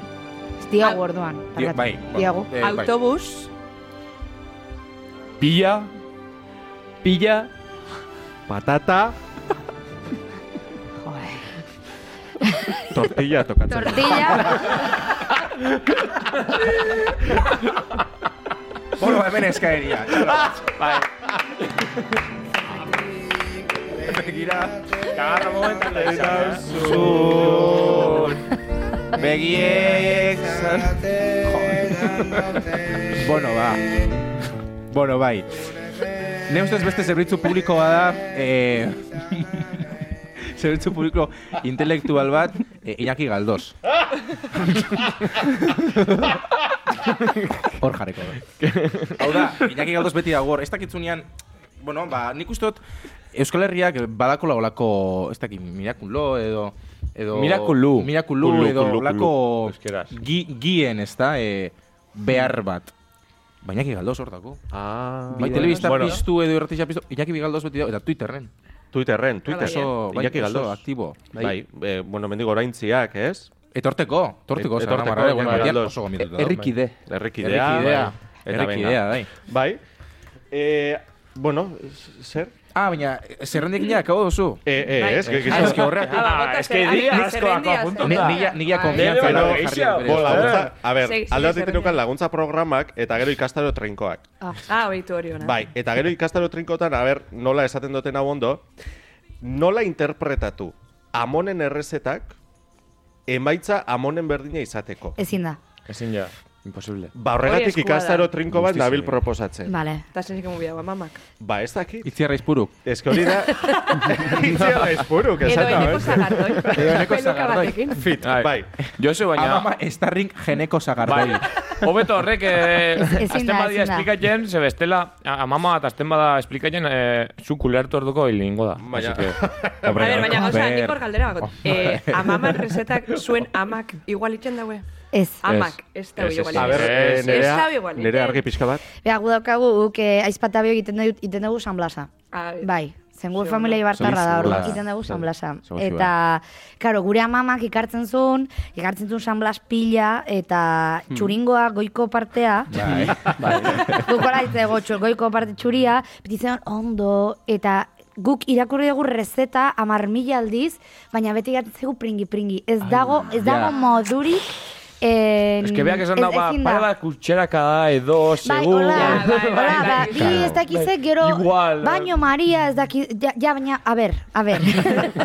Speaker 5: Ez diagu
Speaker 4: Au.
Speaker 5: orduan.
Speaker 2: Di-
Speaker 5: barkatu.
Speaker 2: Bai. bai.
Speaker 5: Diagu.
Speaker 2: Eh, bai.
Speaker 4: Autobus?
Speaker 6: pila,
Speaker 3: pila,
Speaker 1: Patata,
Speaker 5: Joder.
Speaker 1: tortilla tokatzen.
Speaker 5: Tortilla.
Speaker 2: Bueno, hemen eskaeria.
Speaker 6: kagarra momentu,
Speaker 2: Begiek... zan- Joder. Bueno, ba. Bueno, bai. Ne ustez beste zerbitzu publikoa da, eh, <laughs> zerbitzu publiko intelektual bat, eh, Iñaki Galdos. Hor jarriko da. Hau da, Iñaki Galdos beti dago hor. Ez dakitzunean, bueno, ba, nik uste dut Euskal Herriak badakola olako, ez dakit, mirakulo edo... Edo,
Speaker 6: Mirakulu.
Speaker 2: Mirakulu
Speaker 1: Kulu,
Speaker 2: edo
Speaker 1: kulu, kulu.
Speaker 2: olako
Speaker 6: Euskeraz.
Speaker 2: gi, gien, ez da, eh, behar bat. Baina Iñaki Galdos hor dago.
Speaker 1: Ah,
Speaker 2: Bai, telebista piztu edo irratisa piztu, Iñaki Bigaldos beti dago, eta Twitterren.
Speaker 1: Twitterren, Twitter.
Speaker 2: Oso, bai,
Speaker 1: Iñaki
Speaker 2: oso
Speaker 1: Galdos.
Speaker 2: aktibo.
Speaker 1: Bai, eh, bueno, mendigo oraintziak, ez?
Speaker 2: Etorteko, etorteko,
Speaker 1: Et-
Speaker 2: zara
Speaker 1: etorteko,
Speaker 2: marra,
Speaker 1: Iñaki
Speaker 2: eh, bueno, batian
Speaker 1: Galdos.
Speaker 2: oso gomituta dago.
Speaker 3: Errikide.
Speaker 1: Errekidea.
Speaker 2: Errikidea,
Speaker 1: bai. Eta
Speaker 2: errikidea,
Speaker 1: venga.
Speaker 2: bai.
Speaker 1: Bai. Eh, bueno, z- zer?
Speaker 2: Ah, baina, zerrendik nila, akabo duzu.
Speaker 1: Eh, eh,
Speaker 4: Bai.
Speaker 1: ez, que-
Speaker 2: Ah,
Speaker 1: que-
Speaker 2: es que horregatik.
Speaker 4: Ah, ba, bota
Speaker 6: es que
Speaker 4: zer-
Speaker 6: dia
Speaker 4: ah,
Speaker 6: asko
Speaker 4: zerrendia,
Speaker 6: dako apuntu
Speaker 4: zeren
Speaker 2: Ni-
Speaker 6: da.
Speaker 4: dia.
Speaker 2: nila- nila
Speaker 4: Bai.
Speaker 2: konfiantza
Speaker 1: Nire
Speaker 2: dago
Speaker 1: baino
Speaker 2: jarrian bere
Speaker 1: Bo,
Speaker 2: eskuetan.
Speaker 1: laguntza, a ber,
Speaker 4: Segi, segi,
Speaker 1: alde batetik
Speaker 4: berdina.
Speaker 1: neukan laguntza programak eta gero ikastaro trinkoak.
Speaker 4: Ah, oitu hori ona.
Speaker 1: Bai, eta gero ikastaro trinkotan, a ber, nola esaten duten hau ondo, nola interpretatu amonen errezetak emaitza amonen berdina izateko.
Speaker 5: Ezin da.
Speaker 6: Ezin ja, imposible.
Speaker 1: Ba,
Speaker 4: Hori
Speaker 1: horregatik
Speaker 4: eskua da.
Speaker 1: ikastaro trinko bat
Speaker 6: Guztiz eh.
Speaker 1: nabil
Speaker 6: ere.
Speaker 1: proposatzen.
Speaker 5: Vale.
Speaker 4: Eta zenik emu bidagoa, mamak.
Speaker 1: Ba, ez dakit.
Speaker 2: Itziarra izpuruk.
Speaker 1: Ez que hori
Speaker 6: <laughs>
Speaker 1: da... Itziarra espuruk,
Speaker 4: Edo eneko
Speaker 1: esaten.
Speaker 4: zagardoi.
Speaker 2: Edo eneko
Speaker 4: Peluka
Speaker 2: zagardoi.
Speaker 4: batekin.
Speaker 1: Fit,
Speaker 6: Ai.
Speaker 1: bai.
Speaker 6: Josu, baina...
Speaker 2: Amama estarrink Ah, geneko
Speaker 6: Bai,
Speaker 2: zagardoi.
Speaker 6: hobeto horrek, eh,
Speaker 5: ezin da,
Speaker 6: azten badia
Speaker 5: ezin da.
Speaker 6: esplikatzen, ze bestela, a- amama eta azten bada esplikatzen, eh, zuk ulertu orduko hilingo da.
Speaker 1: Baina-
Speaker 6: Así que,
Speaker 4: A ber, baina gauza,
Speaker 2: Ber.
Speaker 4: nik hor galdera
Speaker 6: Oh.
Speaker 4: bakot.
Speaker 6: <laughs>
Speaker 4: Eh, amamak resetak zuen amak igual itxen daue?
Speaker 5: Ez.
Speaker 4: Amak, ez daue
Speaker 6: Ez, ez,
Speaker 4: igual.
Speaker 1: A ber,
Speaker 4: itxen.
Speaker 1: eh,
Speaker 6: Ez,
Speaker 1: nerea,
Speaker 4: ez da igual,
Speaker 1: nerea
Speaker 4: eh.
Speaker 1: argi pixka bat.
Speaker 5: Bea, gu daukagu, guk eh, aizpata bio egiten dugu, egiten dugu San Blasa.
Speaker 4: Ah,
Speaker 5: Bai, zengo
Speaker 4: Ze
Speaker 5: familia
Speaker 4: ondo.
Speaker 5: ibartarra da,
Speaker 2: Solizioa.
Speaker 5: orduan egiten dugu San Blasa.
Speaker 2: Solizioa.
Speaker 5: Eta, karo, gure amamak ikartzen zuen, ikartzen zuen San Blas pila, eta
Speaker 6: Hmm.
Speaker 5: txuringoa goiko partea, <laughs>
Speaker 2: Bai.
Speaker 5: guk hola hitz dago, txu- goiko parte txuria, beti zegoen ondo, eta guk irakurri dugu rezeta amar mila aldiz, baina beti gatzen zaigu pringi-pringi. Ez dago, ez
Speaker 2: ja.
Speaker 5: dago modurik, en,
Speaker 6: Ez que beak esan da,
Speaker 5: ez-
Speaker 6: ba,
Speaker 5: ezin
Speaker 6: pare bat kutxeraka da, edo,
Speaker 5: Bai,
Speaker 6: segun...
Speaker 5: hola,
Speaker 4: Ja,
Speaker 6: <laughs>
Speaker 4: bai, bai,
Speaker 5: hola,
Speaker 4: bai,
Speaker 5: ba,
Speaker 4: bai,
Speaker 5: bi ez dakize, gero,
Speaker 6: Igual, eh.
Speaker 5: baino Maria ez dakiz, ja, ja, baina, a ber,
Speaker 2: <laughs>
Speaker 5: a ber.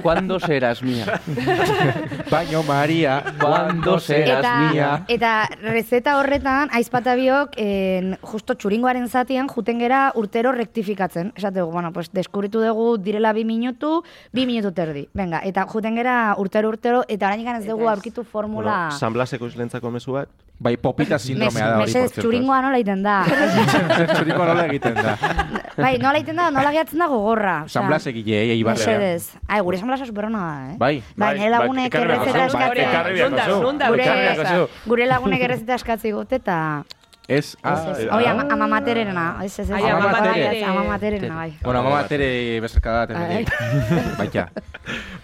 Speaker 3: Cuando serás mía?
Speaker 2: <laughs> Baino Maria,
Speaker 4: Ba-
Speaker 3: Cuando serás
Speaker 5: eta,
Speaker 3: mía?
Speaker 5: eta rezeta horretan, aizpata biok, en, justo txuringoaren zatian, juten gera urtero rektifikatzen. Esate dugu, bueno, pues, deskubritu dugu direla bi minutu, bi minutu terdi. Venga, eta juten gera urtero urtero, eta orain ez dugu
Speaker 4: Eta ez.
Speaker 5: aurkitu formula...
Speaker 1: Bueno, San Blaseko islentzako mezu bat.
Speaker 2: Bai, popita sindromea da hori,
Speaker 5: Mesedez,
Speaker 2: por cierto. <laughs>
Speaker 5: txuringoa nola egiten da.
Speaker 2: Txuringoa nola egiten
Speaker 4: <laughs>
Speaker 2: da.
Speaker 5: bai, nola egiten da, nola gehatzen da gogorra. osea.
Speaker 2: San Blas egile, eh, Eibarrean.
Speaker 5: Mesedez. Ai, gure San Blasa superona da, eh?
Speaker 2: Bai.
Speaker 5: Bai,
Speaker 6: Bai,
Speaker 5: nire
Speaker 6: bai,
Speaker 5: lagunek
Speaker 6: ekarri behar
Speaker 5: errezeta
Speaker 6: duzu, bai, ekarri
Speaker 5: eskatzi.
Speaker 6: behar
Speaker 4: Nunda,
Speaker 6: duzu.
Speaker 4: nunda,
Speaker 5: Gure,
Speaker 6: Ekarri behar duzu.
Speaker 5: gure lagunek errezeta eskatzi gote eta...
Speaker 2: Ez, ah,
Speaker 5: Hoi, ama, ama matererena. Ez, ez, ez.
Speaker 4: Ai,
Speaker 2: ama
Speaker 5: matererena,
Speaker 4: matere.
Speaker 5: Ama matererena, bai.
Speaker 2: Bueno, mama tere bezerka da, Bai, tere. <laughs> Baita.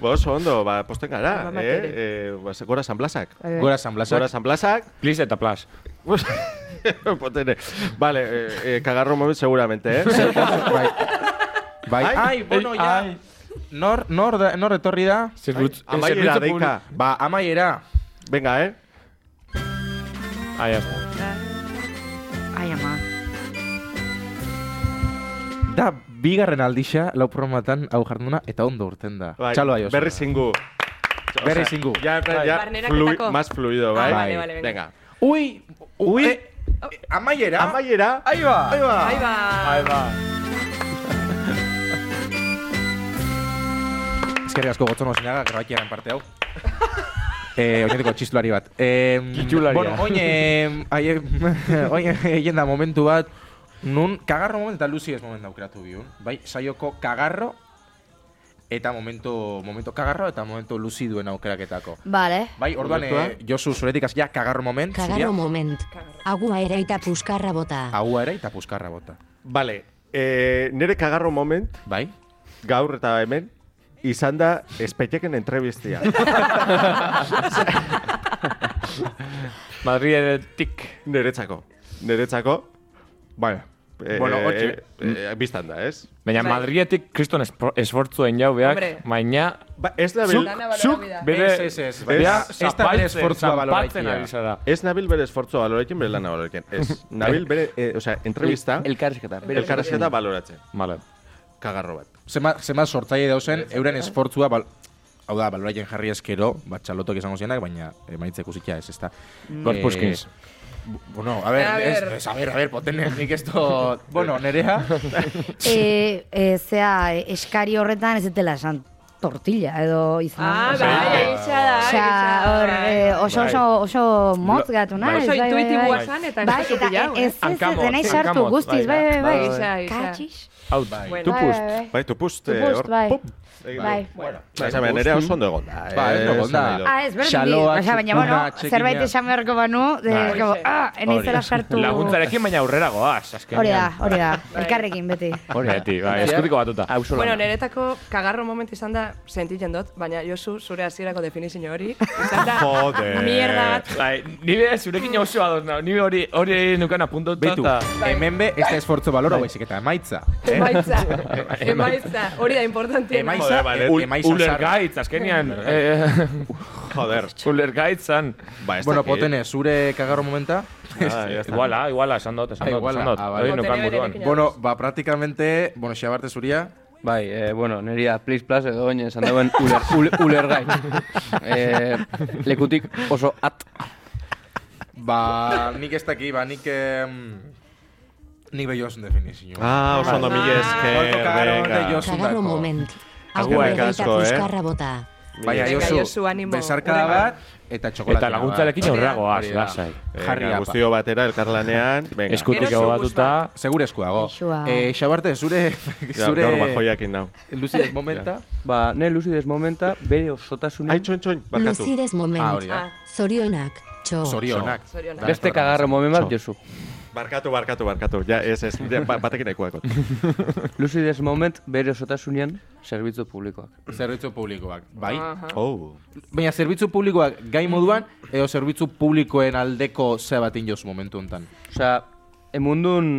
Speaker 1: Ba, oso ondo, ba, posten gara,
Speaker 4: Mama
Speaker 1: eh? eh ba, ze- gora San Blasak.
Speaker 2: Gora San Blasak.
Speaker 1: Gora San Blasak. <laughs>
Speaker 6: Please eta plas.
Speaker 1: Potene. Vale, eh, eh, cagarro móvil seguramente, ¿eh?
Speaker 2: bai. Bai.
Speaker 1: Ai,
Speaker 2: Ai, bueno, ja.
Speaker 6: ai.
Speaker 2: Nor, nor, da, nor etorri da?
Speaker 6: Zerbitz-
Speaker 1: amaiera
Speaker 6: eh, zerbitzu publiko-
Speaker 1: deika.
Speaker 2: Ba, amaiera.
Speaker 1: Venga, ¿eh?
Speaker 6: Ah, ya está.
Speaker 5: Ai, ama.
Speaker 2: Da, bigarren aldixa, lau programatan hau jarduna, eta ondo urten da.
Speaker 1: Bai,
Speaker 2: Txalo aio.
Speaker 1: Berry Singu.
Speaker 2: Berri zingu.
Speaker 1: Ya, en plan, ya
Speaker 4: Barneraketako.
Speaker 1: flui- más fluido,
Speaker 2: Ah,
Speaker 1: bai. ¿vale?
Speaker 4: vale, vale, venga.
Speaker 1: Venga.
Speaker 2: bai. Ui,
Speaker 1: Ui.
Speaker 2: eh, amaiera.
Speaker 1: Amaiera.
Speaker 2: Ahí va. Ahí va.
Speaker 4: Ahí va.
Speaker 6: Ahí va.
Speaker 2: Eskerrik asko gotzon osinaga, grabakiaren parte hau. <laughs> eh, oinetiko txistulari bat. Eh,
Speaker 6: Txistularia.
Speaker 2: Bueno, oin, eh, aie- <laughs> oin, egin da momentu bat, nun, kagarro momentu eta luzi ez momentu aukeratu bihun. Bai, saioko kagarro, eta momento, momento kagarro, eta momento luzi duen aukeraketako.
Speaker 5: Vale.
Speaker 2: Bai, orduan, eh, Josu, zuretik azia, kagarro moment,
Speaker 9: Kagarro moment. Agua ere eta puskarra bota.
Speaker 2: agua ere, eta puskarra bota.
Speaker 1: Vale. Eh, nere cagarro moment,
Speaker 2: Bai?
Speaker 1: gaur eta hemen, izan da espetxeken entrevistia.
Speaker 6: Madridetik.
Speaker 1: Neretzako. Neretzako. Vale. Eh,
Speaker 6: Bueno,
Speaker 1: eh,
Speaker 6: hortxe.
Speaker 1: eh, eh, biztan da, ez?
Speaker 6: Baina
Speaker 4: Bai.
Speaker 6: Madridetik kriston espo- esfortzuen jau
Speaker 4: Hombre.
Speaker 6: beak, baina
Speaker 1: Ba, ez nabil,
Speaker 6: zuk,
Speaker 4: Lana balora
Speaker 6: zuk,
Speaker 5: Mm.
Speaker 4: bida.
Speaker 6: bere,
Speaker 2: Ez, ez, ez, baina
Speaker 6: bea
Speaker 2: ez da bere
Speaker 6: zapaltzen,
Speaker 2: esfortzua
Speaker 6: zapaltzen
Speaker 2: baloraikia.
Speaker 6: ari zara.
Speaker 1: ez nabil bere esfortzua balorekin, bere lana balorekin. Ez, <laughs> nabil bere, eh, o sea, entrevista,
Speaker 3: El, elkarrizketa. bere
Speaker 1: elkarrezketa baloratzen.
Speaker 6: Vale.
Speaker 1: Kagarro bat.
Speaker 2: Zema, zema sortzaile dauzen,
Speaker 4: Bai,
Speaker 2: euren esfortzua, bal, hau da, ba, eh, baloraien jarri eskero, bat txalotok izango zienak, baina emaitzek usikia ez, ezta.
Speaker 6: Gorpuskins.
Speaker 2: Eh, Bueno, a ver,
Speaker 4: Mm. A
Speaker 2: ez,
Speaker 4: ber.
Speaker 2: ez, a ver, a ver, poten nik esto...
Speaker 4: <laughs>
Speaker 2: Bueno, nerea...
Speaker 5: e, e, zea, e, eskari horretan ez dela esan tortilla edo izan.
Speaker 4: Ah,
Speaker 5: Osea,
Speaker 4: bai, egisa da,
Speaker 5: Osea,
Speaker 4: egisa
Speaker 5: hor,
Speaker 4: da.
Speaker 5: eh, oso, oso, oso motz gatu naiz.
Speaker 4: Oso
Speaker 5: bai, bai, bai.
Speaker 4: intuitiboa zan, eta ez
Speaker 5: Bai,
Speaker 4: duzu pilau, eh?
Speaker 5: ez, ez, ez,
Speaker 6: Hankamotz,
Speaker 5: denai sartu
Speaker 6: hankamotz,
Speaker 5: guztiz, bai,
Speaker 6: bai,
Speaker 5: bai, bai.
Speaker 4: bai. Isa, isa.
Speaker 5: Katxis.
Speaker 6: Hau,
Speaker 4: Bueno.
Speaker 6: tu
Speaker 5: Bai,
Speaker 6: pust.
Speaker 5: bai, bai.
Speaker 1: Bai, tupust,
Speaker 5: Tu
Speaker 1: eh,
Speaker 5: pust,
Speaker 1: hor,
Speaker 5: bai.
Speaker 1: pum, egin
Speaker 5: Bai.
Speaker 1: du. Bai, esan behar, nerea oso ondo egon da. eh,
Speaker 2: Bai, ondo egon
Speaker 1: esan
Speaker 2: da.
Speaker 1: nahi dut.
Speaker 5: Ah, ez berdi,
Speaker 2: Xaloak,
Speaker 5: osea, baina, bueno,
Speaker 2: txukuna, txekina.
Speaker 5: zerbait esan beharko banu, de,
Speaker 2: Bai.
Speaker 5: gabo, ah, enei zela sartu.
Speaker 6: Laguntzarekin baina aurrera goaz, azkenean.
Speaker 5: Hori da, hori da,
Speaker 6: Bai.
Speaker 5: elkarrekin beti.
Speaker 6: Beti, bai, eskutiko batuta.
Speaker 3: Auzolana.
Speaker 4: Bueno, niretako kagarro momentu izan da sentitzen dut, baina Josu zure hasierako definizio hori izan da
Speaker 1: Joder.
Speaker 4: mierda
Speaker 1: <laughs>
Speaker 4: bat.
Speaker 6: Bai, nire zurekin oso ados nao, nire hori hori nukan apuntotuta.
Speaker 2: Betu, hemen be, ez da esfortzo balora, baizik eta emaitza.
Speaker 4: Bai.
Speaker 2: eh?
Speaker 4: Emaitza, emaitza, hori da importanteena.
Speaker 2: Emaitza.
Speaker 1: Joder, vale,
Speaker 2: Ul-
Speaker 1: emaitza
Speaker 2: sarri.
Speaker 6: Ulergaitz, azkenean. eh, <laughs>
Speaker 1: Joder.
Speaker 6: Ulergaitz zan.
Speaker 1: Ba, ez
Speaker 2: Bueno,
Speaker 1: dakit.
Speaker 2: potene, zure kagarro momenta.
Speaker 1: Ah, ya está.
Speaker 6: Iguala, iguala, esan dut, esan
Speaker 2: Ah,
Speaker 6: dut,
Speaker 2: iguala,
Speaker 6: esan dut.
Speaker 2: ah, vale.
Speaker 6: Hori nukan
Speaker 4: Botere
Speaker 6: buruan.
Speaker 4: berekin.
Speaker 2: <laughs> Bueno, ba, prácticamente, bueno, xabarte zuria.
Speaker 3: Bai, eh, bueno, neria Please Plus edo oin esan dauen uler, uler, ulergai.
Speaker 1: <laughs>
Speaker 3: eh, lekutik oso at.
Speaker 2: Ba, nik ez daki, ba, nik... em, nik behi osun definizio.
Speaker 1: Ah, oso ondo mila
Speaker 2: Gorko
Speaker 1: esker,
Speaker 2: kagaron de
Speaker 1: Eh, venga.
Speaker 2: Josu.
Speaker 9: Kagarro
Speaker 2: Zundako.
Speaker 9: moment. Agur
Speaker 1: Agur,
Speaker 9: ereita
Speaker 1: kasko, eh?
Speaker 9: puskarra bota.
Speaker 2: Baina,
Speaker 4: Venga, Josu,
Speaker 2: Josu,
Speaker 4: animo.
Speaker 2: besarkada
Speaker 4: Venga.
Speaker 2: bat, eta txokolatina
Speaker 6: Eta laguntzarekin aurrera goaz,
Speaker 2: Hori da.
Speaker 6: lasai.
Speaker 1: Venga,
Speaker 2: Jarri apa.
Speaker 1: Guztio batera,
Speaker 2: <laughs>
Speaker 1: elkarlanean. Venga.
Speaker 6: Eskutik
Speaker 4: Eroso
Speaker 6: hau batuta.
Speaker 2: Segure eskuago.
Speaker 5: Ixua.
Speaker 2: Eh, xabarte, zure...
Speaker 1: Ja, Gaur
Speaker 2: zure...
Speaker 1: bajoiak indau.
Speaker 2: Lucidez momenta.
Speaker 3: Ba, ne lucidez momenta, bere osotasunen
Speaker 1: Aitxo, entxoin, barkatu.
Speaker 9: Luzides
Speaker 2: Ah, hori
Speaker 9: moment.
Speaker 2: da.
Speaker 9: Zorionak. Txo.
Speaker 2: Zorionak.
Speaker 4: Zorionak.
Speaker 3: Beste kagarro momen bat, Josu.
Speaker 1: Barkatu, barkatu, barkatu. Ja, ez, ez, ja, ba- batekin nahikoa dut.
Speaker 3: Lucidez moment, bere osotasunean, zerbitzu publikoak.
Speaker 2: Zerbitzu publikoak. Bai.
Speaker 4: Ah.
Speaker 2: <laughs>
Speaker 1: Oh.
Speaker 2: Baina, zerbitzu publikoak gai moduan, edo zerbitzu publikoen aldeko zea batin jozu momentu honetan.
Speaker 3: Osea, emundun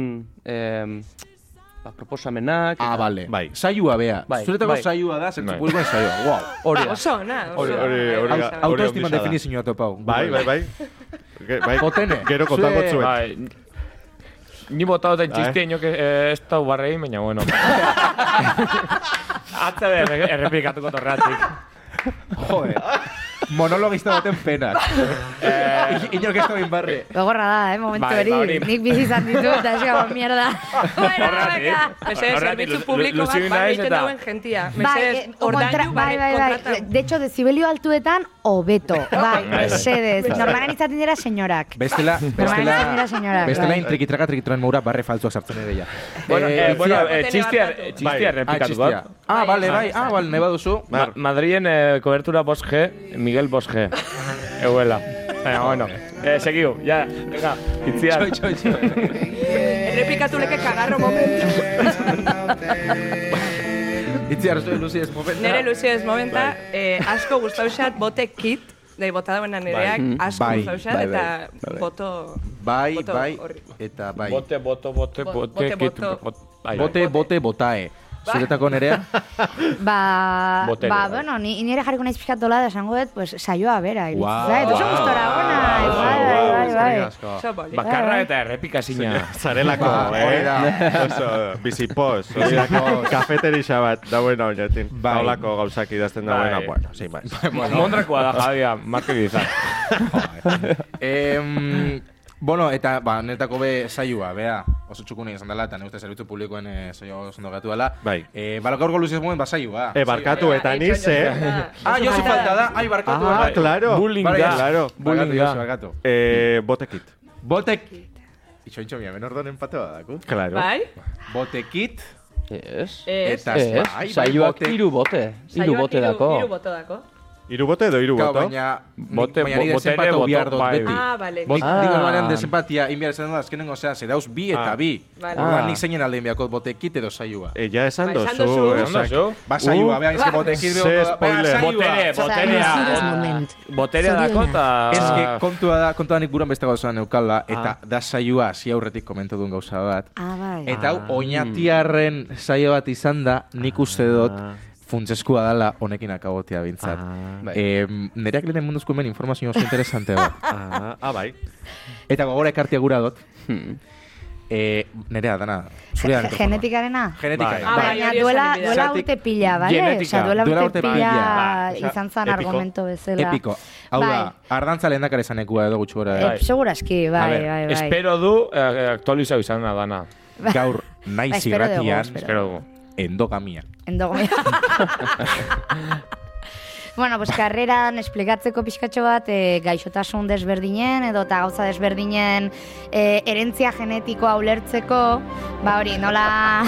Speaker 3: eh, ba, proposamenak...
Speaker 2: Ah,
Speaker 3: eta-
Speaker 2: bale.
Speaker 1: Bai.
Speaker 2: Saioa bea.
Speaker 3: Bai,
Speaker 2: Zuretako
Speaker 3: bai.
Speaker 2: saioa da, zerbitzu
Speaker 6: Bai.
Speaker 2: publikoen saioa. Wow.
Speaker 3: Hori da.
Speaker 4: Oso, na, oso.
Speaker 1: Hori- hori- hori-
Speaker 4: Bai,
Speaker 1: hori-
Speaker 4: oso.
Speaker 2: Autoestima
Speaker 1: ondisa da.
Speaker 2: definizioa topau.
Speaker 1: Bai, bai, bai. Ge- bai.
Speaker 2: Potene,
Speaker 1: Gero kontango
Speaker 2: zue-
Speaker 1: zuen.
Speaker 6: Bai, ni bota dut
Speaker 1: Bai.
Speaker 6: txiste, inok eh, ez da barrein, baina bueno. Atza de erre- errepikatuko torratik.
Speaker 2: Joder. Monologista baten penak. eh, Iñok ez da binbarre.
Speaker 5: Gogorra da, eh, momentu
Speaker 6: Bai,
Speaker 5: hori.
Speaker 6: ba, hori.
Speaker 5: Nik bizi izan ditu, eta ez gabo,
Speaker 6: <laughs>
Speaker 5: mierda.
Speaker 4: Bueno,
Speaker 6: Horregatik.
Speaker 4: venga. Mesedez,
Speaker 6: Horregatik,
Speaker 4: zerbitzu
Speaker 6: lu-
Speaker 4: publiko bat,
Speaker 6: luzi
Speaker 4: bai,
Speaker 6: naiz
Speaker 4: egiten
Speaker 6: eta-
Speaker 4: dauen jentia.
Speaker 5: Bai,
Speaker 4: Mesedez,
Speaker 5: eh, kontra,
Speaker 4: ordainu,
Speaker 5: bai, bai, bai.
Speaker 4: kontratan.
Speaker 5: De hecho, dezibelio altuetan,
Speaker 6: <laughs>
Speaker 5: hobeto. Bai, mesedez. Normalan izaten dira senyorak.
Speaker 2: Bestela,
Speaker 5: Normalean
Speaker 2: bestela,
Speaker 5: dira senyorak.
Speaker 2: bestela
Speaker 5: bai.
Speaker 2: intrikitraka trikitran moura barre faltzuak sartzen ere ja.
Speaker 6: Bueno, eh, bueno,
Speaker 2: txistia-
Speaker 6: eh, txistea
Speaker 4: Potene barkatu.
Speaker 6: txistea
Speaker 2: ah,
Speaker 6: errepikatuko.
Speaker 2: txistia. Ah, bale, bai, ah, bale, nahi baduzu.
Speaker 6: Ma Madrilen eh, kobertura 5G, Miguel 5G. Euela. Baina, bueno. Eh, segiu, ja, venga, itziar.
Speaker 4: Errepikatu leke kagarro momentu.
Speaker 2: Itzi arzu luzi ez momenta.
Speaker 4: Nere Lucia ez momenta, eh, asko guztauxat bote kit, dei bota dauena nereak, asko
Speaker 2: Bai,
Speaker 4: guztauxat,
Speaker 2: bai, bai,
Speaker 4: eta boto...
Speaker 2: Bai,
Speaker 4: boto
Speaker 2: bai,
Speaker 4: horri.
Speaker 2: eta bai.
Speaker 6: Bote, boto, bote,
Speaker 4: Bo-
Speaker 6: bote,
Speaker 4: bote,
Speaker 6: kit,
Speaker 4: boto.
Speaker 6: bot- bai, bai.
Speaker 2: Bote, bote, botae. Zuretako nerea?
Speaker 5: Ba,
Speaker 6: Botere,
Speaker 5: ba,
Speaker 6: bai.
Speaker 5: bueno, ni, nire jarriko naiz pixkat dola da esango dut, pues, saioa bera. iritsi
Speaker 2: Guau.
Speaker 5: zait. Oso
Speaker 2: Guau.
Speaker 5: gustora, ona. Bai, bai, bai, bai.
Speaker 4: Oso boli.
Speaker 6: Bakarra eta errepikazina.
Speaker 1: Zarelako,
Speaker 2: Ba, hori
Speaker 1: eh?
Speaker 2: da.
Speaker 1: Oso, bizipoz. hori da, <laughs> Kafeterisa bat, dauena oinatzen.
Speaker 2: Bai.
Speaker 1: Taulako gauzak idazten
Speaker 6: Bai.
Speaker 1: dauena, bueno, sin más.
Speaker 6: Mondrakoa da, Javier, Marke Bizar.
Speaker 2: Bai. Em, bueno, eta, ba, netako be saioa, bea, oso txukune izan dela, eta ne uste zerbitzu publikoen e, saioa oso ondo gatu dela.
Speaker 1: Bai.
Speaker 2: E, ba, gaurko luziz momen, ba, saioa.
Speaker 1: E, barkatu eta
Speaker 4: Itxoin
Speaker 1: niz, eh?
Speaker 4: jota.
Speaker 2: Ah, Josi falta da, ai, barkatu.
Speaker 1: Ah,
Speaker 2: barkatu.
Speaker 1: claro.
Speaker 6: Bullying
Speaker 2: Barkatu,
Speaker 6: da.
Speaker 2: Josi,
Speaker 6: Bullying
Speaker 2: Barkatu,
Speaker 6: da.
Speaker 2: Josi, barkatu.
Speaker 1: Eh, botekit.
Speaker 2: Botek... Itxo, itxo, mia, benor don empate badaku.
Speaker 1: Claro.
Speaker 4: Bai?
Speaker 2: Botekit,
Speaker 3: Ez?
Speaker 4: Ez.
Speaker 2: eta...
Speaker 3: Ez,
Speaker 2: bai, bai,
Speaker 3: saioak
Speaker 2: bote-
Speaker 3: hiru bote. Hiru
Speaker 4: Saioak
Speaker 3: bote dako.
Speaker 4: Hiru bote dako.
Speaker 1: Hiru bote edo hiru
Speaker 2: Gau,
Speaker 1: boto?
Speaker 2: baina...
Speaker 6: Bote-
Speaker 2: baina nire
Speaker 6: bo- botere,
Speaker 2: zenpatu
Speaker 6: boto-
Speaker 2: behar dut
Speaker 6: bai.
Speaker 2: beti.
Speaker 4: Ah, vale.
Speaker 2: Nik
Speaker 3: Ah.
Speaker 2: digo banan desempatia inbiar zen da, azkenengo, osea, zedauz bi eta
Speaker 1: Ah.
Speaker 2: bi.
Speaker 4: Vale.
Speaker 2: Orduan
Speaker 3: Ah.
Speaker 2: nik zeinen aldein behako botekit edo saioa.
Speaker 1: Eh, ja esan
Speaker 4: Ba, esan
Speaker 1: dozu.
Speaker 4: dozu.
Speaker 1: eh,
Speaker 4: Esan
Speaker 1: osak-
Speaker 6: dozu.
Speaker 2: Ba, saioa,
Speaker 1: Uh,
Speaker 2: beha, ez que botekit
Speaker 1: ze
Speaker 2: beha, beha,
Speaker 1: spoiler.
Speaker 6: Botere, boterea.
Speaker 9: Luzides moment.
Speaker 6: Boterea dako
Speaker 9: Zorionak.
Speaker 6: eta...
Speaker 2: Eske
Speaker 1: Ah,
Speaker 2: kontua da, kontua nik buruan beste gauza neukala, eta da saioa hasi aurretik komentu duen gauza bat.
Speaker 5: Ah, bai.
Speaker 2: Eta hau, oinatiarren saio bat izan da, nik uste dut, funtsezkoa dela honekin akabotea bintzat.
Speaker 3: Bai.
Speaker 2: Eh, nereak lehen munduzko hemen informazio oso interesante bat.
Speaker 1: Ah, ah, bai.
Speaker 2: Eta gogora ekartia gura dut. Eh, nerea, dana. Zurea
Speaker 5: Ge-
Speaker 2: mikrofonoa.
Speaker 5: Genetikarena?
Speaker 2: Genetika.
Speaker 4: Ah, bai,
Speaker 5: Baina
Speaker 4: hori
Speaker 5: duela,
Speaker 4: esan bidea.
Speaker 5: duela
Speaker 2: Zergatik-
Speaker 5: urte pila, bale?
Speaker 2: Genetika,
Speaker 5: Osea, duela
Speaker 2: duela
Speaker 5: urte
Speaker 2: urte
Speaker 5: pila
Speaker 2: pila.
Speaker 1: Ba, osea,
Speaker 5: izan zan
Speaker 1: epiko.
Speaker 5: argumento bezala.
Speaker 2: Epiko. Hau
Speaker 5: bai.
Speaker 2: da, ardantza lehen esanekua edo gutxi gora.
Speaker 5: Eh, seguraski,
Speaker 6: A
Speaker 5: bai,
Speaker 6: ber,
Speaker 5: bai, bai.
Speaker 6: Espero du eh, aktualizau izan da dana.
Speaker 2: Gaur,
Speaker 5: Ba,
Speaker 2: naiz
Speaker 5: espero dugu,
Speaker 2: irratian,
Speaker 5: espero.
Speaker 6: Espero du.
Speaker 2: endogamia.
Speaker 5: Endogamia. bueno, pues karreran esplikatzeko pixkatxo bat eh, gaixotasun desberdinen edo eta gauza desberdinen eh, erentzia genetikoa ulertzeko, ba hori, nola...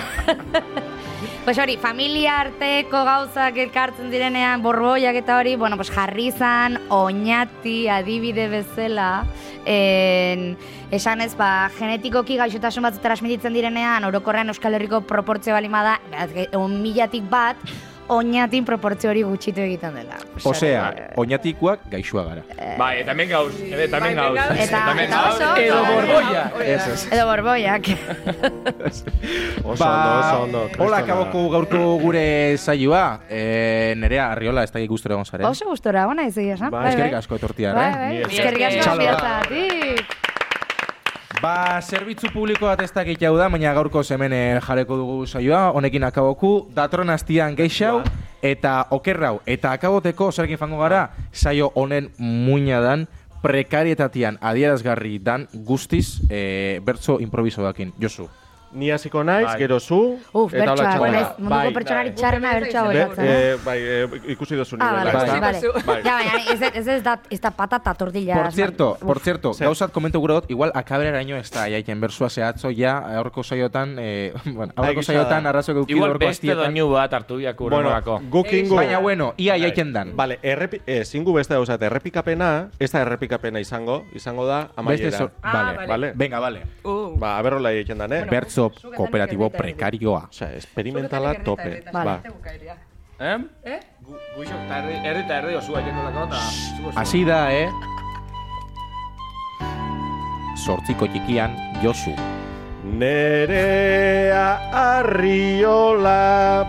Speaker 5: Pues hori, familia arteko gauzak elkartzen direnean, borboiak eta hori, bueno, pues jarri izan, oinati, adibide bezala, en, esan ez, ba, genetikoki gaixotasun batzuk transmititzen direnean, orokorrean Euskal Herriko proportzio balima da, egon milatik bat, oinatin proportzio hori gutxitu egiten dela.
Speaker 2: Osea,
Speaker 5: eh,
Speaker 2: oinatikuak gaixua gara.
Speaker 6: Bai, eta hemen gauz. Eta hemen
Speaker 4: Bai, hemen
Speaker 6: gauz.
Speaker 4: gauz.
Speaker 5: Eta- eta oso ondo.
Speaker 6: Edo borboia.
Speaker 4: Ez, ez.
Speaker 5: Edo borboiak. <laughs>
Speaker 1: Oso ondo, oso ondo.
Speaker 2: Ba, Hola,
Speaker 1: kristona.
Speaker 2: kaboko gaurko gure saioa. Eh, nerea, arriola, ez da gustura egon zaren.
Speaker 5: Oso gustora, ona izan, esan.
Speaker 2: Ba,
Speaker 5: bai,
Speaker 2: eskerrik
Speaker 5: bai.
Speaker 2: asko etortiar,
Speaker 5: Bai,
Speaker 2: eh?
Speaker 5: bai,
Speaker 6: Ni
Speaker 5: eskerrik asko
Speaker 4: esker.
Speaker 5: konfiantzagatik.
Speaker 2: Ba, zerbitzu publiko bat ez dakit hau da, baina gaurko hemen eh, jareko dugu saioa, honekin akaboku, datron astian geixau, eta okerrau, eta akaboteko, zerkin fango gara, saio honen muina dan, prekarietatian adierazgarri dan guztiz eh, bertso improvisoakin. Josu.
Speaker 1: Ni hasiko naiz,
Speaker 6: Bai.
Speaker 1: gero zu.
Speaker 5: Uf,
Speaker 1: eta hola
Speaker 5: bertsoa,
Speaker 1: txarra.
Speaker 5: bueno, ez, munduko
Speaker 1: Bai,
Speaker 5: pertsonari
Speaker 4: bai.
Speaker 5: txarrena bertsoa
Speaker 1: Be-
Speaker 5: botatzen. eh?
Speaker 1: eh, bai, eh, ikusi duzu
Speaker 5: Ah, vale,
Speaker 1: nivela,
Speaker 5: vale,
Speaker 1: ezta?
Speaker 5: vale.
Speaker 1: Bai.
Speaker 5: Ya, baina ez, ez, ez, da, ez da patata tortilla.
Speaker 2: Por cierto, por cierto,
Speaker 1: Zer?
Speaker 2: gauzat komento gura dut, igual akabereraino ez da, jaiken bersua zehatzo, ja, aurreko saiotan, eh, <laughs> bueno, aurreko
Speaker 1: Egia da.
Speaker 2: saiotan, arrazoak eduki
Speaker 6: Igual
Speaker 2: aurreko
Speaker 6: beste
Speaker 2: astietan.
Speaker 6: doinu bat hartu biak urrengorako.
Speaker 1: Bueno, guk ingo...
Speaker 2: Baina, bueno, ia jaiken dan.
Speaker 1: Bale, errepi, ez, ingu beste dauzat, errepikapena, ez da errepikapena izango, izango da amaiera.
Speaker 2: Beste zor...
Speaker 4: Ah,
Speaker 2: vale,
Speaker 4: vale.
Speaker 2: vale. Venga, vale.
Speaker 4: Uh,
Speaker 1: Ba, aberrola egiten dan, eh?
Speaker 4: Bueno.
Speaker 2: Bertzo
Speaker 4: zuek
Speaker 2: kooperatibo
Speaker 4: danik erreta
Speaker 2: prekarioa.
Speaker 1: Osea, esperimentala tope.
Speaker 5: Vale.
Speaker 1: Ba.
Speaker 6: Eh?
Speaker 4: Eh?
Speaker 6: Guixo, erri eta erri osua jengo lako eta...
Speaker 2: Hasi da, eh? Sortziko txikian, Josu.
Speaker 1: Nerea arriola,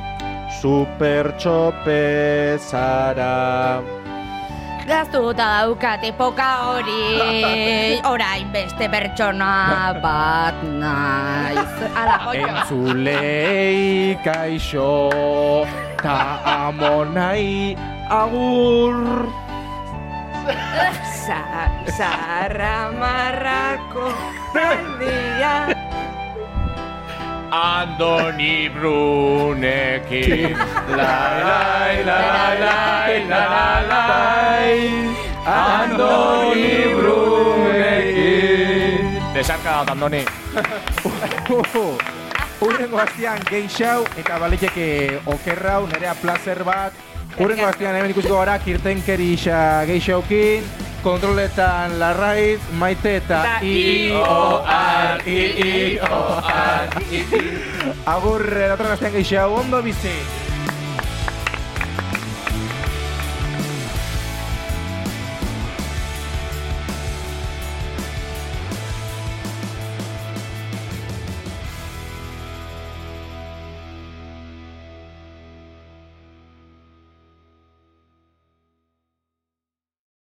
Speaker 1: supertxope zara.
Speaker 5: Gaztuta daukate poka
Speaker 2: <laughs>
Speaker 5: hori, orain beste pertsona bat naiz. Ala, oio.
Speaker 2: Entzulei kaixo, ta amonai agur.
Speaker 4: Za- Zarra marrako zaldia.
Speaker 6: Andoni <laughs> Brunekin. Lai, lai, lai, lai, lai, lai. Andoni Brunekin. Desarka dut, Andoni.
Speaker 2: Urrengo hastian geixau eta baliteke okerrau, nerea placer bat. Urrengo hastian hemen ikusiko gara kirtenkeri isa geixaukin, kontroletan larraiz, maite eta
Speaker 4: Eta
Speaker 2: I-O-R, I-I-O-R, Agur, datorren astean geixau, ondo bizi!